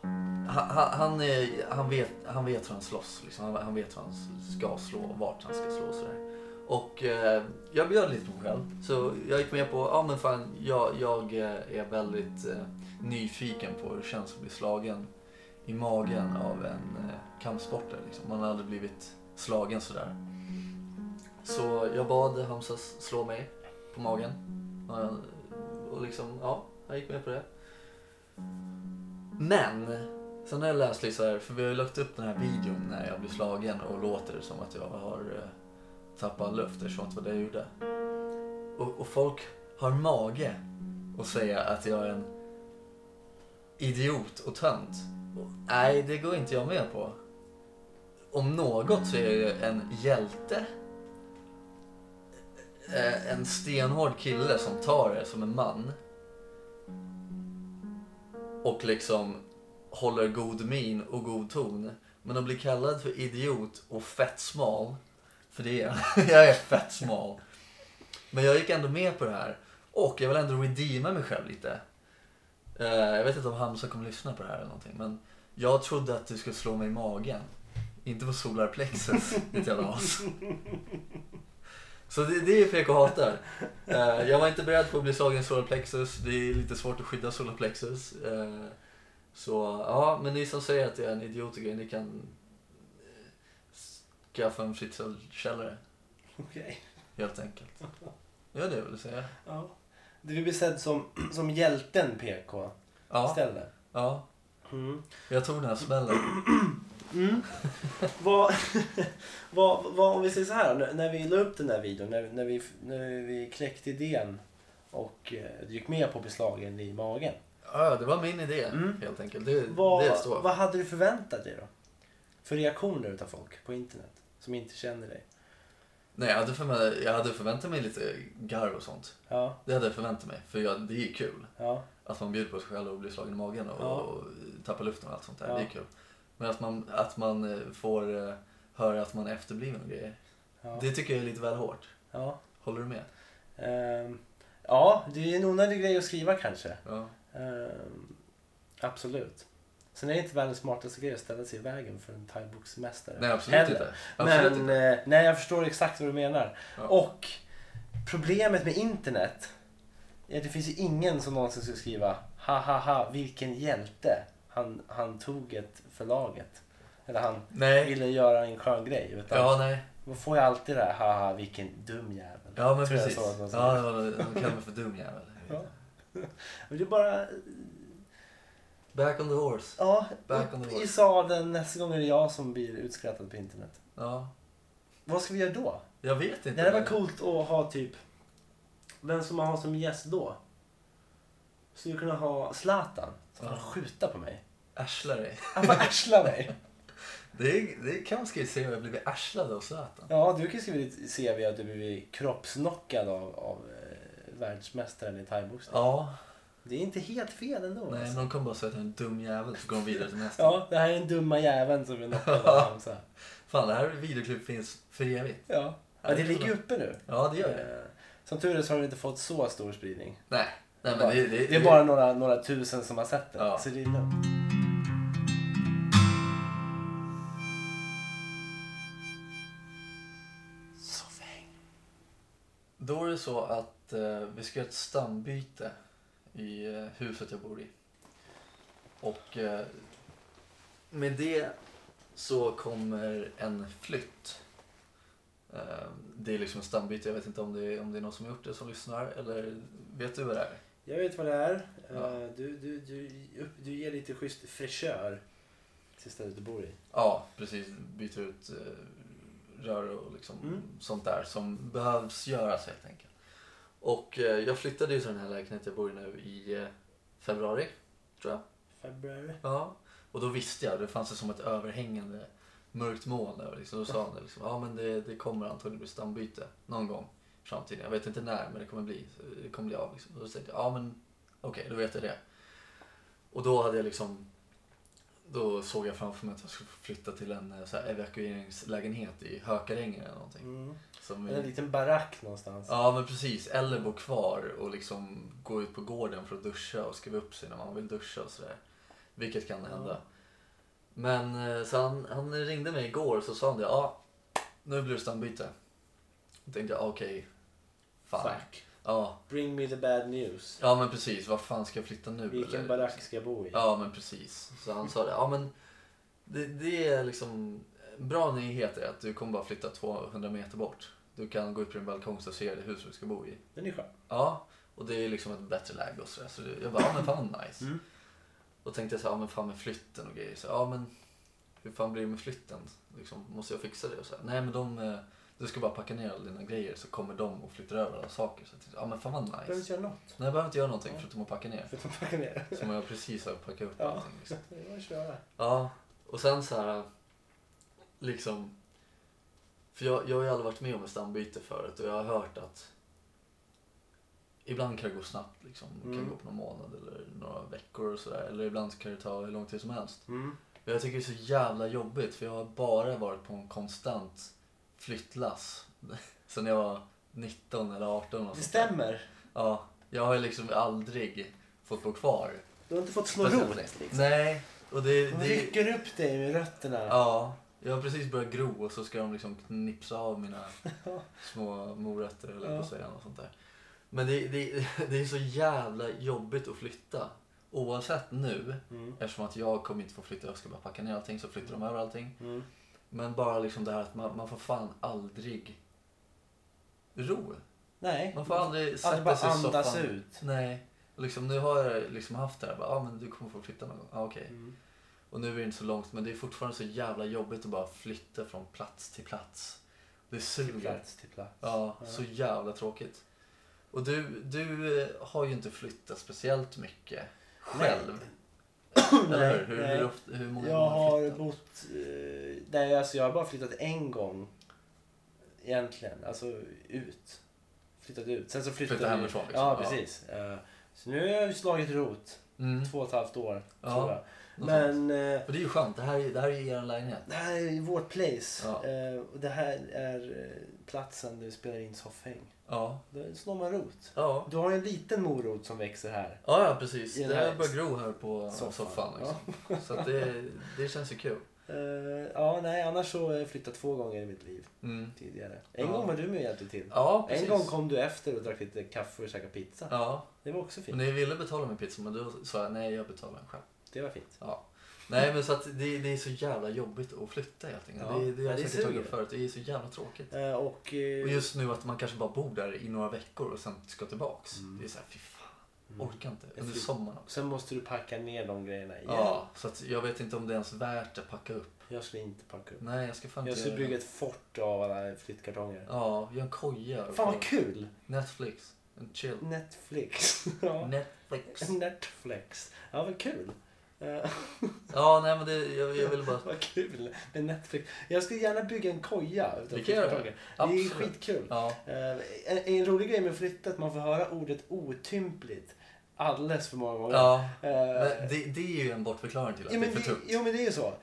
Speaker 1: han, han- han, är- han, vet, han vet hur han slåss. Liksom. Han, han vet hur han ska slå och vart han ska slå och sådär. Och eh, jag bjöd lite på mig själv. Så jag gick med på, ja men fan, jag, jag eh, är väldigt eh, nyfiken på hur det känns att bli slagen i magen av en eh, kampsportare. Liksom. Man har aldrig blivit slagen sådär. Så jag bad Hamza slå mig på magen. Och jag- Och liksom, ja, jag gick med på det. Men, sen har jag läst lite så här, för vi har ju lagt upp den här videon när jag blir slagen och låter som att jag har eh, tappat luft eftersom att det var det jag gjorde. Och, och folk har mage att säga att jag är en idiot och tönt. Och, nej, det går inte jag med på. Om något så är jag ju en hjälte eh, en stenhård kille som tar det som en man. Och liksom håller god min och god ton. Men att bli kallad för idiot och fett smal. För det är jag. jag är fett smal. Men jag gick ändå med på det här. Och jag vill ändå redeema mig själv lite. Eh, jag vet inte om Hamza kommer lyssna på det här eller någonting. Men jag trodde att du skulle slå mig i magen. Inte på solarplexus, ditt jävla as. Så det, det är PK hatar. Eh, jag var inte beredd på att bli slagen i solarplexus. Det är lite svårt att skydda solarplexus. Eh, så ja, men ni som säger att jag är en idiot och grejer, ni kan eh, s- lucka för en fritzelkällare.
Speaker 2: Okej.
Speaker 1: Helt enkelt. Det är det jag ville säga.
Speaker 2: Ja. Du vill bli sedd som, som hjälten PK
Speaker 1: Ja,
Speaker 2: istället.
Speaker 1: ja,
Speaker 2: Mm.
Speaker 1: jag tog den här smällen.
Speaker 2: Mm. vad, vad, vad, om vi säger så här då, när- när vi la upp den här videon, när, när, vi, när vi kläckte idén och eh, gick med på beslagen i magen.
Speaker 1: Ja, det var min idé
Speaker 2: Mm.
Speaker 1: helt enkelt. Det, det
Speaker 2: Vad,
Speaker 1: står
Speaker 2: vad hade du förväntat dig då? För reaktioner utav folk på internet som inte känner dig?
Speaker 1: Nej, jag hade, förvä- jag hade förväntat mig lite garv och sånt.
Speaker 2: Ja,
Speaker 1: Det hade jag förväntat mig. För jag, det är ju kul.
Speaker 2: ja,
Speaker 1: Att man bjuder på sig själv och blir slagen i magen och,
Speaker 2: Ja.
Speaker 1: och tappar luften och allt sånt där.
Speaker 2: Ja.
Speaker 1: Det är kul. Men att man, att man eh, får eh, höra att man är efterbliven och grejer.
Speaker 2: ja.
Speaker 1: Det tycker jag är lite väl hårt.
Speaker 2: ja.
Speaker 1: Håller du med?
Speaker 2: Ehm, ja, det är en onödig grej att skriva kanske.
Speaker 1: Ja.
Speaker 2: Ehm, absolut. Sen är det inte världens smartaste grej att ställa sig i vägen för en thaiboxmästare.
Speaker 1: Nej, absolut
Speaker 2: Heller.
Speaker 1: inte. Absolut
Speaker 2: Men
Speaker 1: inte.
Speaker 2: eh, nej, jag förstår exakt vad du menar.
Speaker 1: Ja.
Speaker 2: Och problemet med internet är att det finns ju ingen som någonsin skulle skriva ha ha ha vilken hjälte han, han tog ett förlaget. Eller han
Speaker 1: Nej.
Speaker 2: ville göra en skön grej. Utan
Speaker 1: Ja, nej.
Speaker 2: Då får jag alltid det här ha ha vilken dum jävel.
Speaker 1: Ja, men
Speaker 2: Tror jag
Speaker 1: precis.
Speaker 2: sa att någon sa.
Speaker 1: Ja, det var, de kallade mig för dum jävel.
Speaker 2: Ja. Men det är bara
Speaker 1: Back on the horse.
Speaker 2: Ja,
Speaker 1: Back on the
Speaker 2: upp
Speaker 1: horse.
Speaker 2: i sadeln. Nästa gång är det jag som blir utskrattad på internet.
Speaker 1: Ja.
Speaker 2: Vad ska vi göra då?
Speaker 1: Jag vet
Speaker 2: Det
Speaker 1: inte.
Speaker 2: hade varit coolt att ha typ... Vem som man har som gäst då? Skulle kunna ha Zlatan. Så får han
Speaker 1: Ja.
Speaker 2: skjuta på mig.
Speaker 1: Arsla dig.
Speaker 2: Han får arsla mig.
Speaker 1: Det, är- det kan man skriva se om jag blivit arslad av Zlatan.
Speaker 2: Ja, du kan skriva i ditt CV att du blivit kroppsnockad av, av eh, världsmästaren i thaiboxning.
Speaker 1: Ja.
Speaker 2: Det är inte helt fel ändå.
Speaker 1: Nej,
Speaker 2: alltså.
Speaker 1: någon kommer bara säga att jag är en dum jävel så går de vidare till nästa.
Speaker 2: Ja, det här är den dumma jäveln som är knockad av Hamza.
Speaker 1: Fan, det här videoklippet finns för evigt.
Speaker 2: Ja. ja, det ligger uppe nu.
Speaker 1: Ja, det gör det.
Speaker 2: Eh, Som tur är så har det inte fått så stor spridning.
Speaker 1: Nej, nej men det, det,
Speaker 2: Det är bara några, några tusen som har sett det.
Speaker 1: Ja.
Speaker 2: Så det är lugnt.
Speaker 1: Då är det så att eh, vi ska göra ett stambyte i eh, huset jag bor i. Och eh, med det så kommer en flytt. Eh, det är liksom ett stambyte, jag vet inte om det, är, om det är någon som har gjort det som lyssnar eller vet du vad det är?
Speaker 2: Jag vet vad det är.
Speaker 1: Ja.
Speaker 2: Eh, Du, du, du, upp, du ger lite schysst fräschör till stället du bor i.
Speaker 1: Ja, precis. Byta ut eh, rör och liksom
Speaker 2: Mm.
Speaker 1: sånt där som behövs göras helt enkelt. Och eh, jag flyttade ju till den här lägenheten jag bor i nu i eh, februari, tror jag.
Speaker 2: Februari.
Speaker 1: Ja. Och då visste jag, det fanns det som ett överhängande mörkt moln över. Liksom. Då sa han det liksom, ja men det, det kommer antagligen bli stambyte någon gång i framtiden. Jag vet inte när men det kommer bli, det kommer bli av. Liksom. Och då tänkte jag, ja men okej då vet jag det. Och då hade jag liksom, då såg jag framför mig att jag skulle flytta till en eh, så här, evakueringslägenhet i Hökarängen eller någonting.
Speaker 2: Mm.
Speaker 1: Som
Speaker 2: En
Speaker 1: är,
Speaker 2: liten barack någonstans.
Speaker 1: ja men precis, eller bo kvar och liksom gå ut på gården för att duscha och skriva upp sig när man vill duscha och sådär. Vilket kan hända.
Speaker 2: Ja.
Speaker 1: Men eh, så han, han ringde mig igår och så sa han det. Ja, nu blir det stambyte. Då tänkte jag, okej. fan.
Speaker 2: Fuck.
Speaker 1: Ja,
Speaker 2: Bring me the bad news.
Speaker 1: ja men precis. Var fan ska jag flytta nu?
Speaker 2: Vilken
Speaker 1: eller?
Speaker 2: barack ska jag bo i?
Speaker 1: Ja men precis. Så han sa det. Ja men det, det är liksom. Bra nyhet är att du kommer bara flytta 200 meter bort. Du kan gå ut på din balkong så ser du det hus du ska bo i.
Speaker 2: Den är skön.
Speaker 1: Ja, och det är liksom ett bättre läge och sådär. Så det- jag bara, ja men fan nice.
Speaker 2: Mm.
Speaker 1: Och tänkte jag så här, ja men fan med flytten och grejer. Så, ja men hur fan blir det med flytten? Liksom, måste jag fixa det? Och så här, Nej men de, eh, du ska bara packa ner alla dina grejer så kommer de och flyttar över alla saker. Så jag tänkte, ja men fan vad
Speaker 2: Behöver
Speaker 1: nice.
Speaker 2: inte göra något.
Speaker 1: Nej jag behöver inte göra någonting
Speaker 2: Ja.
Speaker 1: förutom att packa ner.
Speaker 2: Förutom att packa ner.
Speaker 1: Som jag precis har packat upp
Speaker 2: Ja.
Speaker 1: allting. Liksom.
Speaker 2: Det är bara att köra.
Speaker 1: Ja, och sen så här liksom för jag, jag har ju aldrig varit med om ett stambyte förut och jag har hört att ibland kan det gå snabbt liksom. Det kan
Speaker 2: Mm.
Speaker 1: gå på någon månad eller några veckor och sådär. Eller ibland kan det ta hur lång tid som helst.
Speaker 2: Mm.
Speaker 1: Men jag tycker det är så jävla jobbigt för jag har bara varit på en konstant flyttlass sen jag var 19 eller 18 och
Speaker 2: Det
Speaker 1: sånt där.
Speaker 2: stämmer.
Speaker 1: Ja, jag har ju liksom aldrig fått bo kvar.
Speaker 2: Du har inte fått slå
Speaker 1: Fast-
Speaker 2: rot. Liksom.
Speaker 1: Nej, och det...
Speaker 2: De
Speaker 1: det
Speaker 2: rycker upp dig med rötterna.
Speaker 1: Ja, jag har precis börjat gro och så ska de liksom knipsa av mina små morötter eller
Speaker 2: Ja.
Speaker 1: på att säga och sånt där. Men det, det, det är så jävla jobbigt att flytta. Oavsett nu,
Speaker 2: Mm.
Speaker 1: eftersom att jag kommer inte få flytta, jag ska bara packa ner allting, så flyttar de över allting.
Speaker 2: Mm.
Speaker 1: Men bara liksom det här att man, man får fan aldrig ro.
Speaker 2: Nej.
Speaker 1: Man får aldrig
Speaker 2: Aldrig
Speaker 1: sätta
Speaker 2: bara
Speaker 1: sig i
Speaker 2: andas
Speaker 1: soffan.
Speaker 2: ut.
Speaker 1: Nej. Och Liksom, nu har jag liksom haft det här. Bara, ah, men du kommer få flytta någon gång. Ah, okej. Och nu är det inte så långt men det är fortfarande så jävla jobbigt att bara flytta från plats till plats. Det
Speaker 2: Till
Speaker 1: suger.
Speaker 2: plats till plats.
Speaker 1: Ja, så jävla tråkigt. Och du, du eh, har ju inte flyttat speciellt mycket själv. Eller hur? Hur, hur, ofta, hur många
Speaker 2: Jag
Speaker 1: har
Speaker 2: har
Speaker 1: flyttat?
Speaker 2: bott... eh, Nej, alltså jag har bara flyttat en gång. Egentligen. Alltså ut. Flyttat ut. Sen så flyttade
Speaker 1: Flyttat
Speaker 2: vi-
Speaker 1: hemifrån, liksom.
Speaker 2: Ja,
Speaker 1: Ja.
Speaker 2: precis. Eh, Så nu har jag ju slagit rot.
Speaker 1: Mm,
Speaker 2: Två och ett halvt år,
Speaker 1: Ja,
Speaker 2: tror jag.
Speaker 1: något
Speaker 2: Men eh,
Speaker 1: Och det är ju skönt. Det här, är- det här är ju er lägenhet.
Speaker 2: det här är vårt place.
Speaker 1: Ja.
Speaker 2: Eh, Och det här är eh, platsen du spelar in soffhäng.
Speaker 1: Ja.
Speaker 2: Då slår man rot.
Speaker 1: Ja.
Speaker 2: Du har ju en liten morot som växer här.
Speaker 1: Ja, ja precis.
Speaker 2: I
Speaker 1: Det
Speaker 2: den här
Speaker 1: här börjar gro här på
Speaker 2: soffan.
Speaker 1: soffan. liksom. Så att det, det känns ju kul.
Speaker 2: Eh, ja, nej, annars så har jag flyttat två gånger i mitt liv
Speaker 1: Mm.
Speaker 2: tidigare. En
Speaker 1: Ja.
Speaker 2: gång var du med och hjälpte till.
Speaker 1: Ja, precis.
Speaker 2: en gång kom du efter och drack lite kaffe och käkade pizza.
Speaker 1: Ja,
Speaker 2: Det var också
Speaker 1: och
Speaker 2: fint.
Speaker 1: ni ville betala med pizza men då sa jag nej, jag betalar själv.
Speaker 2: Det var fint.
Speaker 1: Ja. Nej men så att det, det är så jävla jobbigt att flytta helt enkelt.
Speaker 2: Ja,
Speaker 1: Det, det
Speaker 2: ja,
Speaker 1: har
Speaker 2: det
Speaker 1: jag säkert tagit
Speaker 2: suger.
Speaker 1: upp förut. Det är så jävla tråkigt.
Speaker 2: Eh, och... eh,
Speaker 1: Och just nu att man kanske bara bor där i några veckor och sen ska tillbaks.
Speaker 2: Mm.
Speaker 1: Det är så här, fy fan.
Speaker 2: mm.
Speaker 1: Orkar inte.
Speaker 2: Jag
Speaker 1: Under
Speaker 2: fly-
Speaker 1: sommaren också.
Speaker 2: Sen måste du packa ner de grejerna igen.
Speaker 1: Ja, så att jag vet inte om det är ens värt att packa upp.
Speaker 2: Jag skulle inte packa upp.
Speaker 1: Nej, jag ska fan
Speaker 2: Jag
Speaker 1: inte
Speaker 2: skulle
Speaker 1: göra det.
Speaker 2: bygga ett fort av alla flyttkartonger.
Speaker 1: Ja, gör en koja.
Speaker 2: Fan
Speaker 1: på
Speaker 2: vad kul!
Speaker 1: Netflix. En chill.
Speaker 2: Netflix. ja. Mm.
Speaker 1: Netflix.
Speaker 2: Netflix. Ja, vad kul. Eh,
Speaker 1: Ja, nej men det, jag, jag vill bara...
Speaker 2: vad kul med Netflix. Jag skulle gärna bygga en koja utav
Speaker 1: Vi kan göra det.
Speaker 2: flyttkartonger. Det är
Speaker 1: Absolut.
Speaker 2: skitkul.
Speaker 1: Ja.
Speaker 2: Eh, en, en rolig grej med flyttet att man får höra ordet otympligt alldeles för många gånger.
Speaker 1: Ja.
Speaker 2: Eh,
Speaker 1: Men det, det är ju en bortförklaring till att
Speaker 2: Jo
Speaker 1: det
Speaker 2: men,
Speaker 1: är för
Speaker 2: det,
Speaker 1: tungt.
Speaker 2: jo men det är ju så.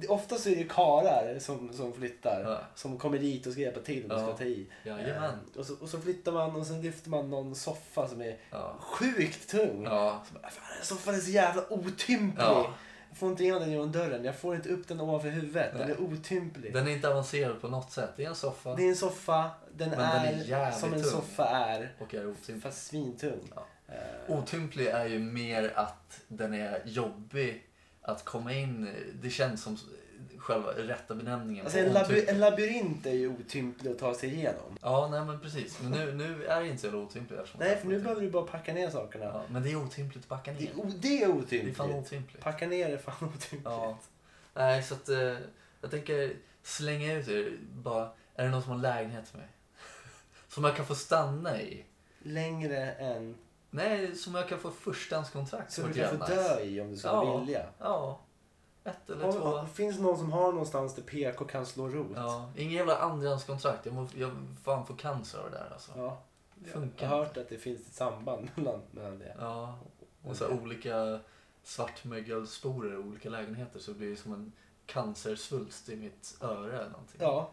Speaker 2: Det- Oftast är det ju karar som, som flyttar.
Speaker 1: Ja.
Speaker 2: Som kommer dit och ska hjälpa till och
Speaker 1: Ja.
Speaker 2: ska ta i.
Speaker 1: Jajamän.
Speaker 2: Eh, och, så, och så flyttar man och sen lyfter man någon soffa som är
Speaker 1: Ja.
Speaker 2: sjukt tung.
Speaker 1: Ja.
Speaker 2: Så bara, Fan, den här soffan är så jävla otymplig.
Speaker 1: Ja.
Speaker 2: Jag får inte in den genom dörren. Jag får inte upp den ovanför huvudet. Den
Speaker 1: Nej.
Speaker 2: är otymplig.
Speaker 1: Den är inte avancerad på något sätt. Det är en soffa
Speaker 2: Det är en soffa. Den
Speaker 1: Men
Speaker 2: är,
Speaker 1: den är jävligt
Speaker 2: som en
Speaker 1: tung.
Speaker 2: soffa är.
Speaker 1: och är otymplig.
Speaker 2: Fast svintung.
Speaker 1: Ja.
Speaker 2: Eh,
Speaker 1: Otymplig är ju mer att den är jobbig att komma in i. Det känns som själva rätta benämningen.
Speaker 2: alltså
Speaker 1: på
Speaker 2: en, laby-
Speaker 1: otymplig.
Speaker 2: en labyrint är ju otymplig att ta sig igenom.
Speaker 1: Ja, nej men precis. Men nu, nu är det inte så jävla otymplig eftersom
Speaker 2: Nej, för nu behöver du bara packa ner sakerna.
Speaker 1: ja, Men det är otympligt att backa
Speaker 2: Det
Speaker 1: ner.
Speaker 2: är, o- det är
Speaker 1: Det är
Speaker 2: otympligt.
Speaker 1: fan otympligt.
Speaker 2: Packa ner är fan otympligt.
Speaker 1: Ja. Nej, så att eh, jag tänker slänga ut er. Bara, är det någon som har lägenhet till mig? Som jag kan få stanna i?
Speaker 2: Längre än...
Speaker 1: Nej, som jag kan få förstahandskontrakt
Speaker 2: Så
Speaker 1: på
Speaker 2: du
Speaker 1: ett
Speaker 2: kan få
Speaker 1: jävla
Speaker 2: dö
Speaker 1: nice.
Speaker 2: i om du skulle
Speaker 1: Ja.
Speaker 2: vilja.
Speaker 1: Ja. Ett eller
Speaker 2: Om,
Speaker 1: två.
Speaker 2: om, finns det någon som har någonstans där PK kan slå rot?
Speaker 1: Ja, ingen jävla andrahandskontrakt. Jag, må, jag fan får cancer av det där alltså. Ja.
Speaker 2: Ja.
Speaker 1: Funkar
Speaker 2: Jag har hört att det finns ett samband mellan, mellan det.
Speaker 1: Och så här olika svartmögelsporer i olika lägenheter så det blir som en cancersvulst i mitt öra eller någonting.
Speaker 2: Ja.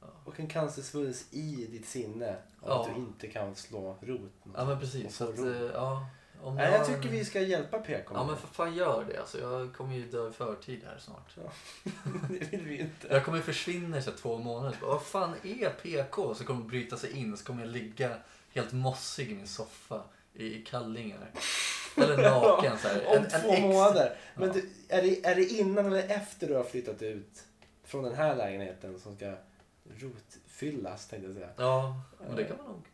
Speaker 1: Ja.
Speaker 2: Och en cancersvulst i ditt sinne av
Speaker 1: Ja.
Speaker 2: att du inte kan slå rot.
Speaker 1: Ja, men precis. Så
Speaker 2: Och
Speaker 1: att,
Speaker 2: få ro.
Speaker 1: eh, ja. Om
Speaker 2: Nej,
Speaker 1: har
Speaker 2: jag
Speaker 1: en-
Speaker 2: tycker vi ska hjälpa PK med
Speaker 1: Ja men för fan gör det alltså. Jag kommer ju dö i förtid här snart.
Speaker 2: det. det vill vi inte.
Speaker 1: Jag kommer försvinna i så här två månader. Bara, Vad fan är PK? Så kommer de bryta sig in så kommer jag ligga helt mossig i min soffa i, i kallingar. Eller naken så här.
Speaker 2: Om
Speaker 1: En- en
Speaker 2: två
Speaker 1: extra-
Speaker 2: månader. Men
Speaker 1: Ja.
Speaker 2: du, är, det, är det innan eller efter du har flyttat ut från den här lägenheten som ska rotfyllas tänkte jag säga.
Speaker 1: Ja, men det kan man nog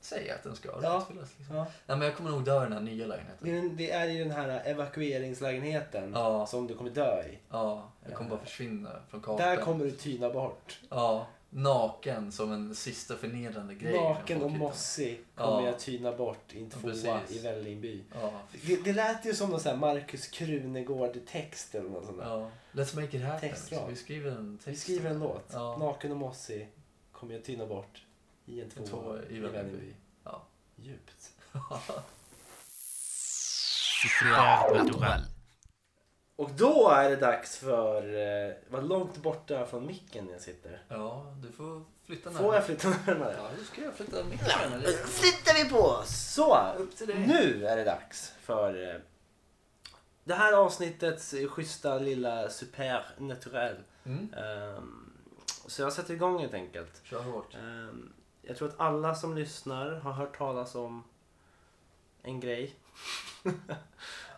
Speaker 1: säga att den ska.
Speaker 2: Ja.
Speaker 1: Ja. Liksom. Nej, men jag kommer nog dö i den här nya lägenheten.
Speaker 2: Det, är, det är i den här evakueringslägenheten
Speaker 1: Ja.
Speaker 2: som du kommer dö i.
Speaker 1: Ja, jag kommer bara försvinna från kartan.
Speaker 2: Eh, Där kommer du tyna bort.
Speaker 1: Ja, naken som en sista förnedrande grej.
Speaker 2: Naken
Speaker 1: Folk
Speaker 2: och
Speaker 1: hittar.
Speaker 2: mossig kommer
Speaker 1: Ja.
Speaker 2: jag tyna bort i en
Speaker 1: Ja,
Speaker 2: tvåa
Speaker 1: precis.
Speaker 2: i Vällingby.
Speaker 1: Ja,
Speaker 2: Det, det lät ju som någon sån här Markus Krunegård-text eller något sånt där.
Speaker 1: ja. Let's make it happen.
Speaker 2: Textrad.
Speaker 1: Så vi skriver en text.
Speaker 2: Vi skriver en låt.
Speaker 1: Ja.
Speaker 2: Naken och mossig kommer jag tyna bort i en tvåa,
Speaker 1: tvåa i
Speaker 2: i
Speaker 1: Vällingby.
Speaker 2: Vällingby.
Speaker 1: Ja.
Speaker 2: Djupt. Och då är det dags för... Eh, vad långt borta från micken jag sitter.
Speaker 1: Ja, du får flytta närmare.
Speaker 2: Får jag flytta närmare?
Speaker 1: Ja, du ska jag flytta mitt närmare.
Speaker 2: flyttar vi på oss! Så!
Speaker 1: Upp till dig.
Speaker 2: Nu är det dags för eh, det här avsnittets eh, schyssta lilla supernatural.
Speaker 1: Mm.
Speaker 2: Ehm, så jag sätter igång helt enkelt.
Speaker 1: Kör hårt.
Speaker 2: Ehm, jag tror att alla som lyssnar har hört talas om en grej.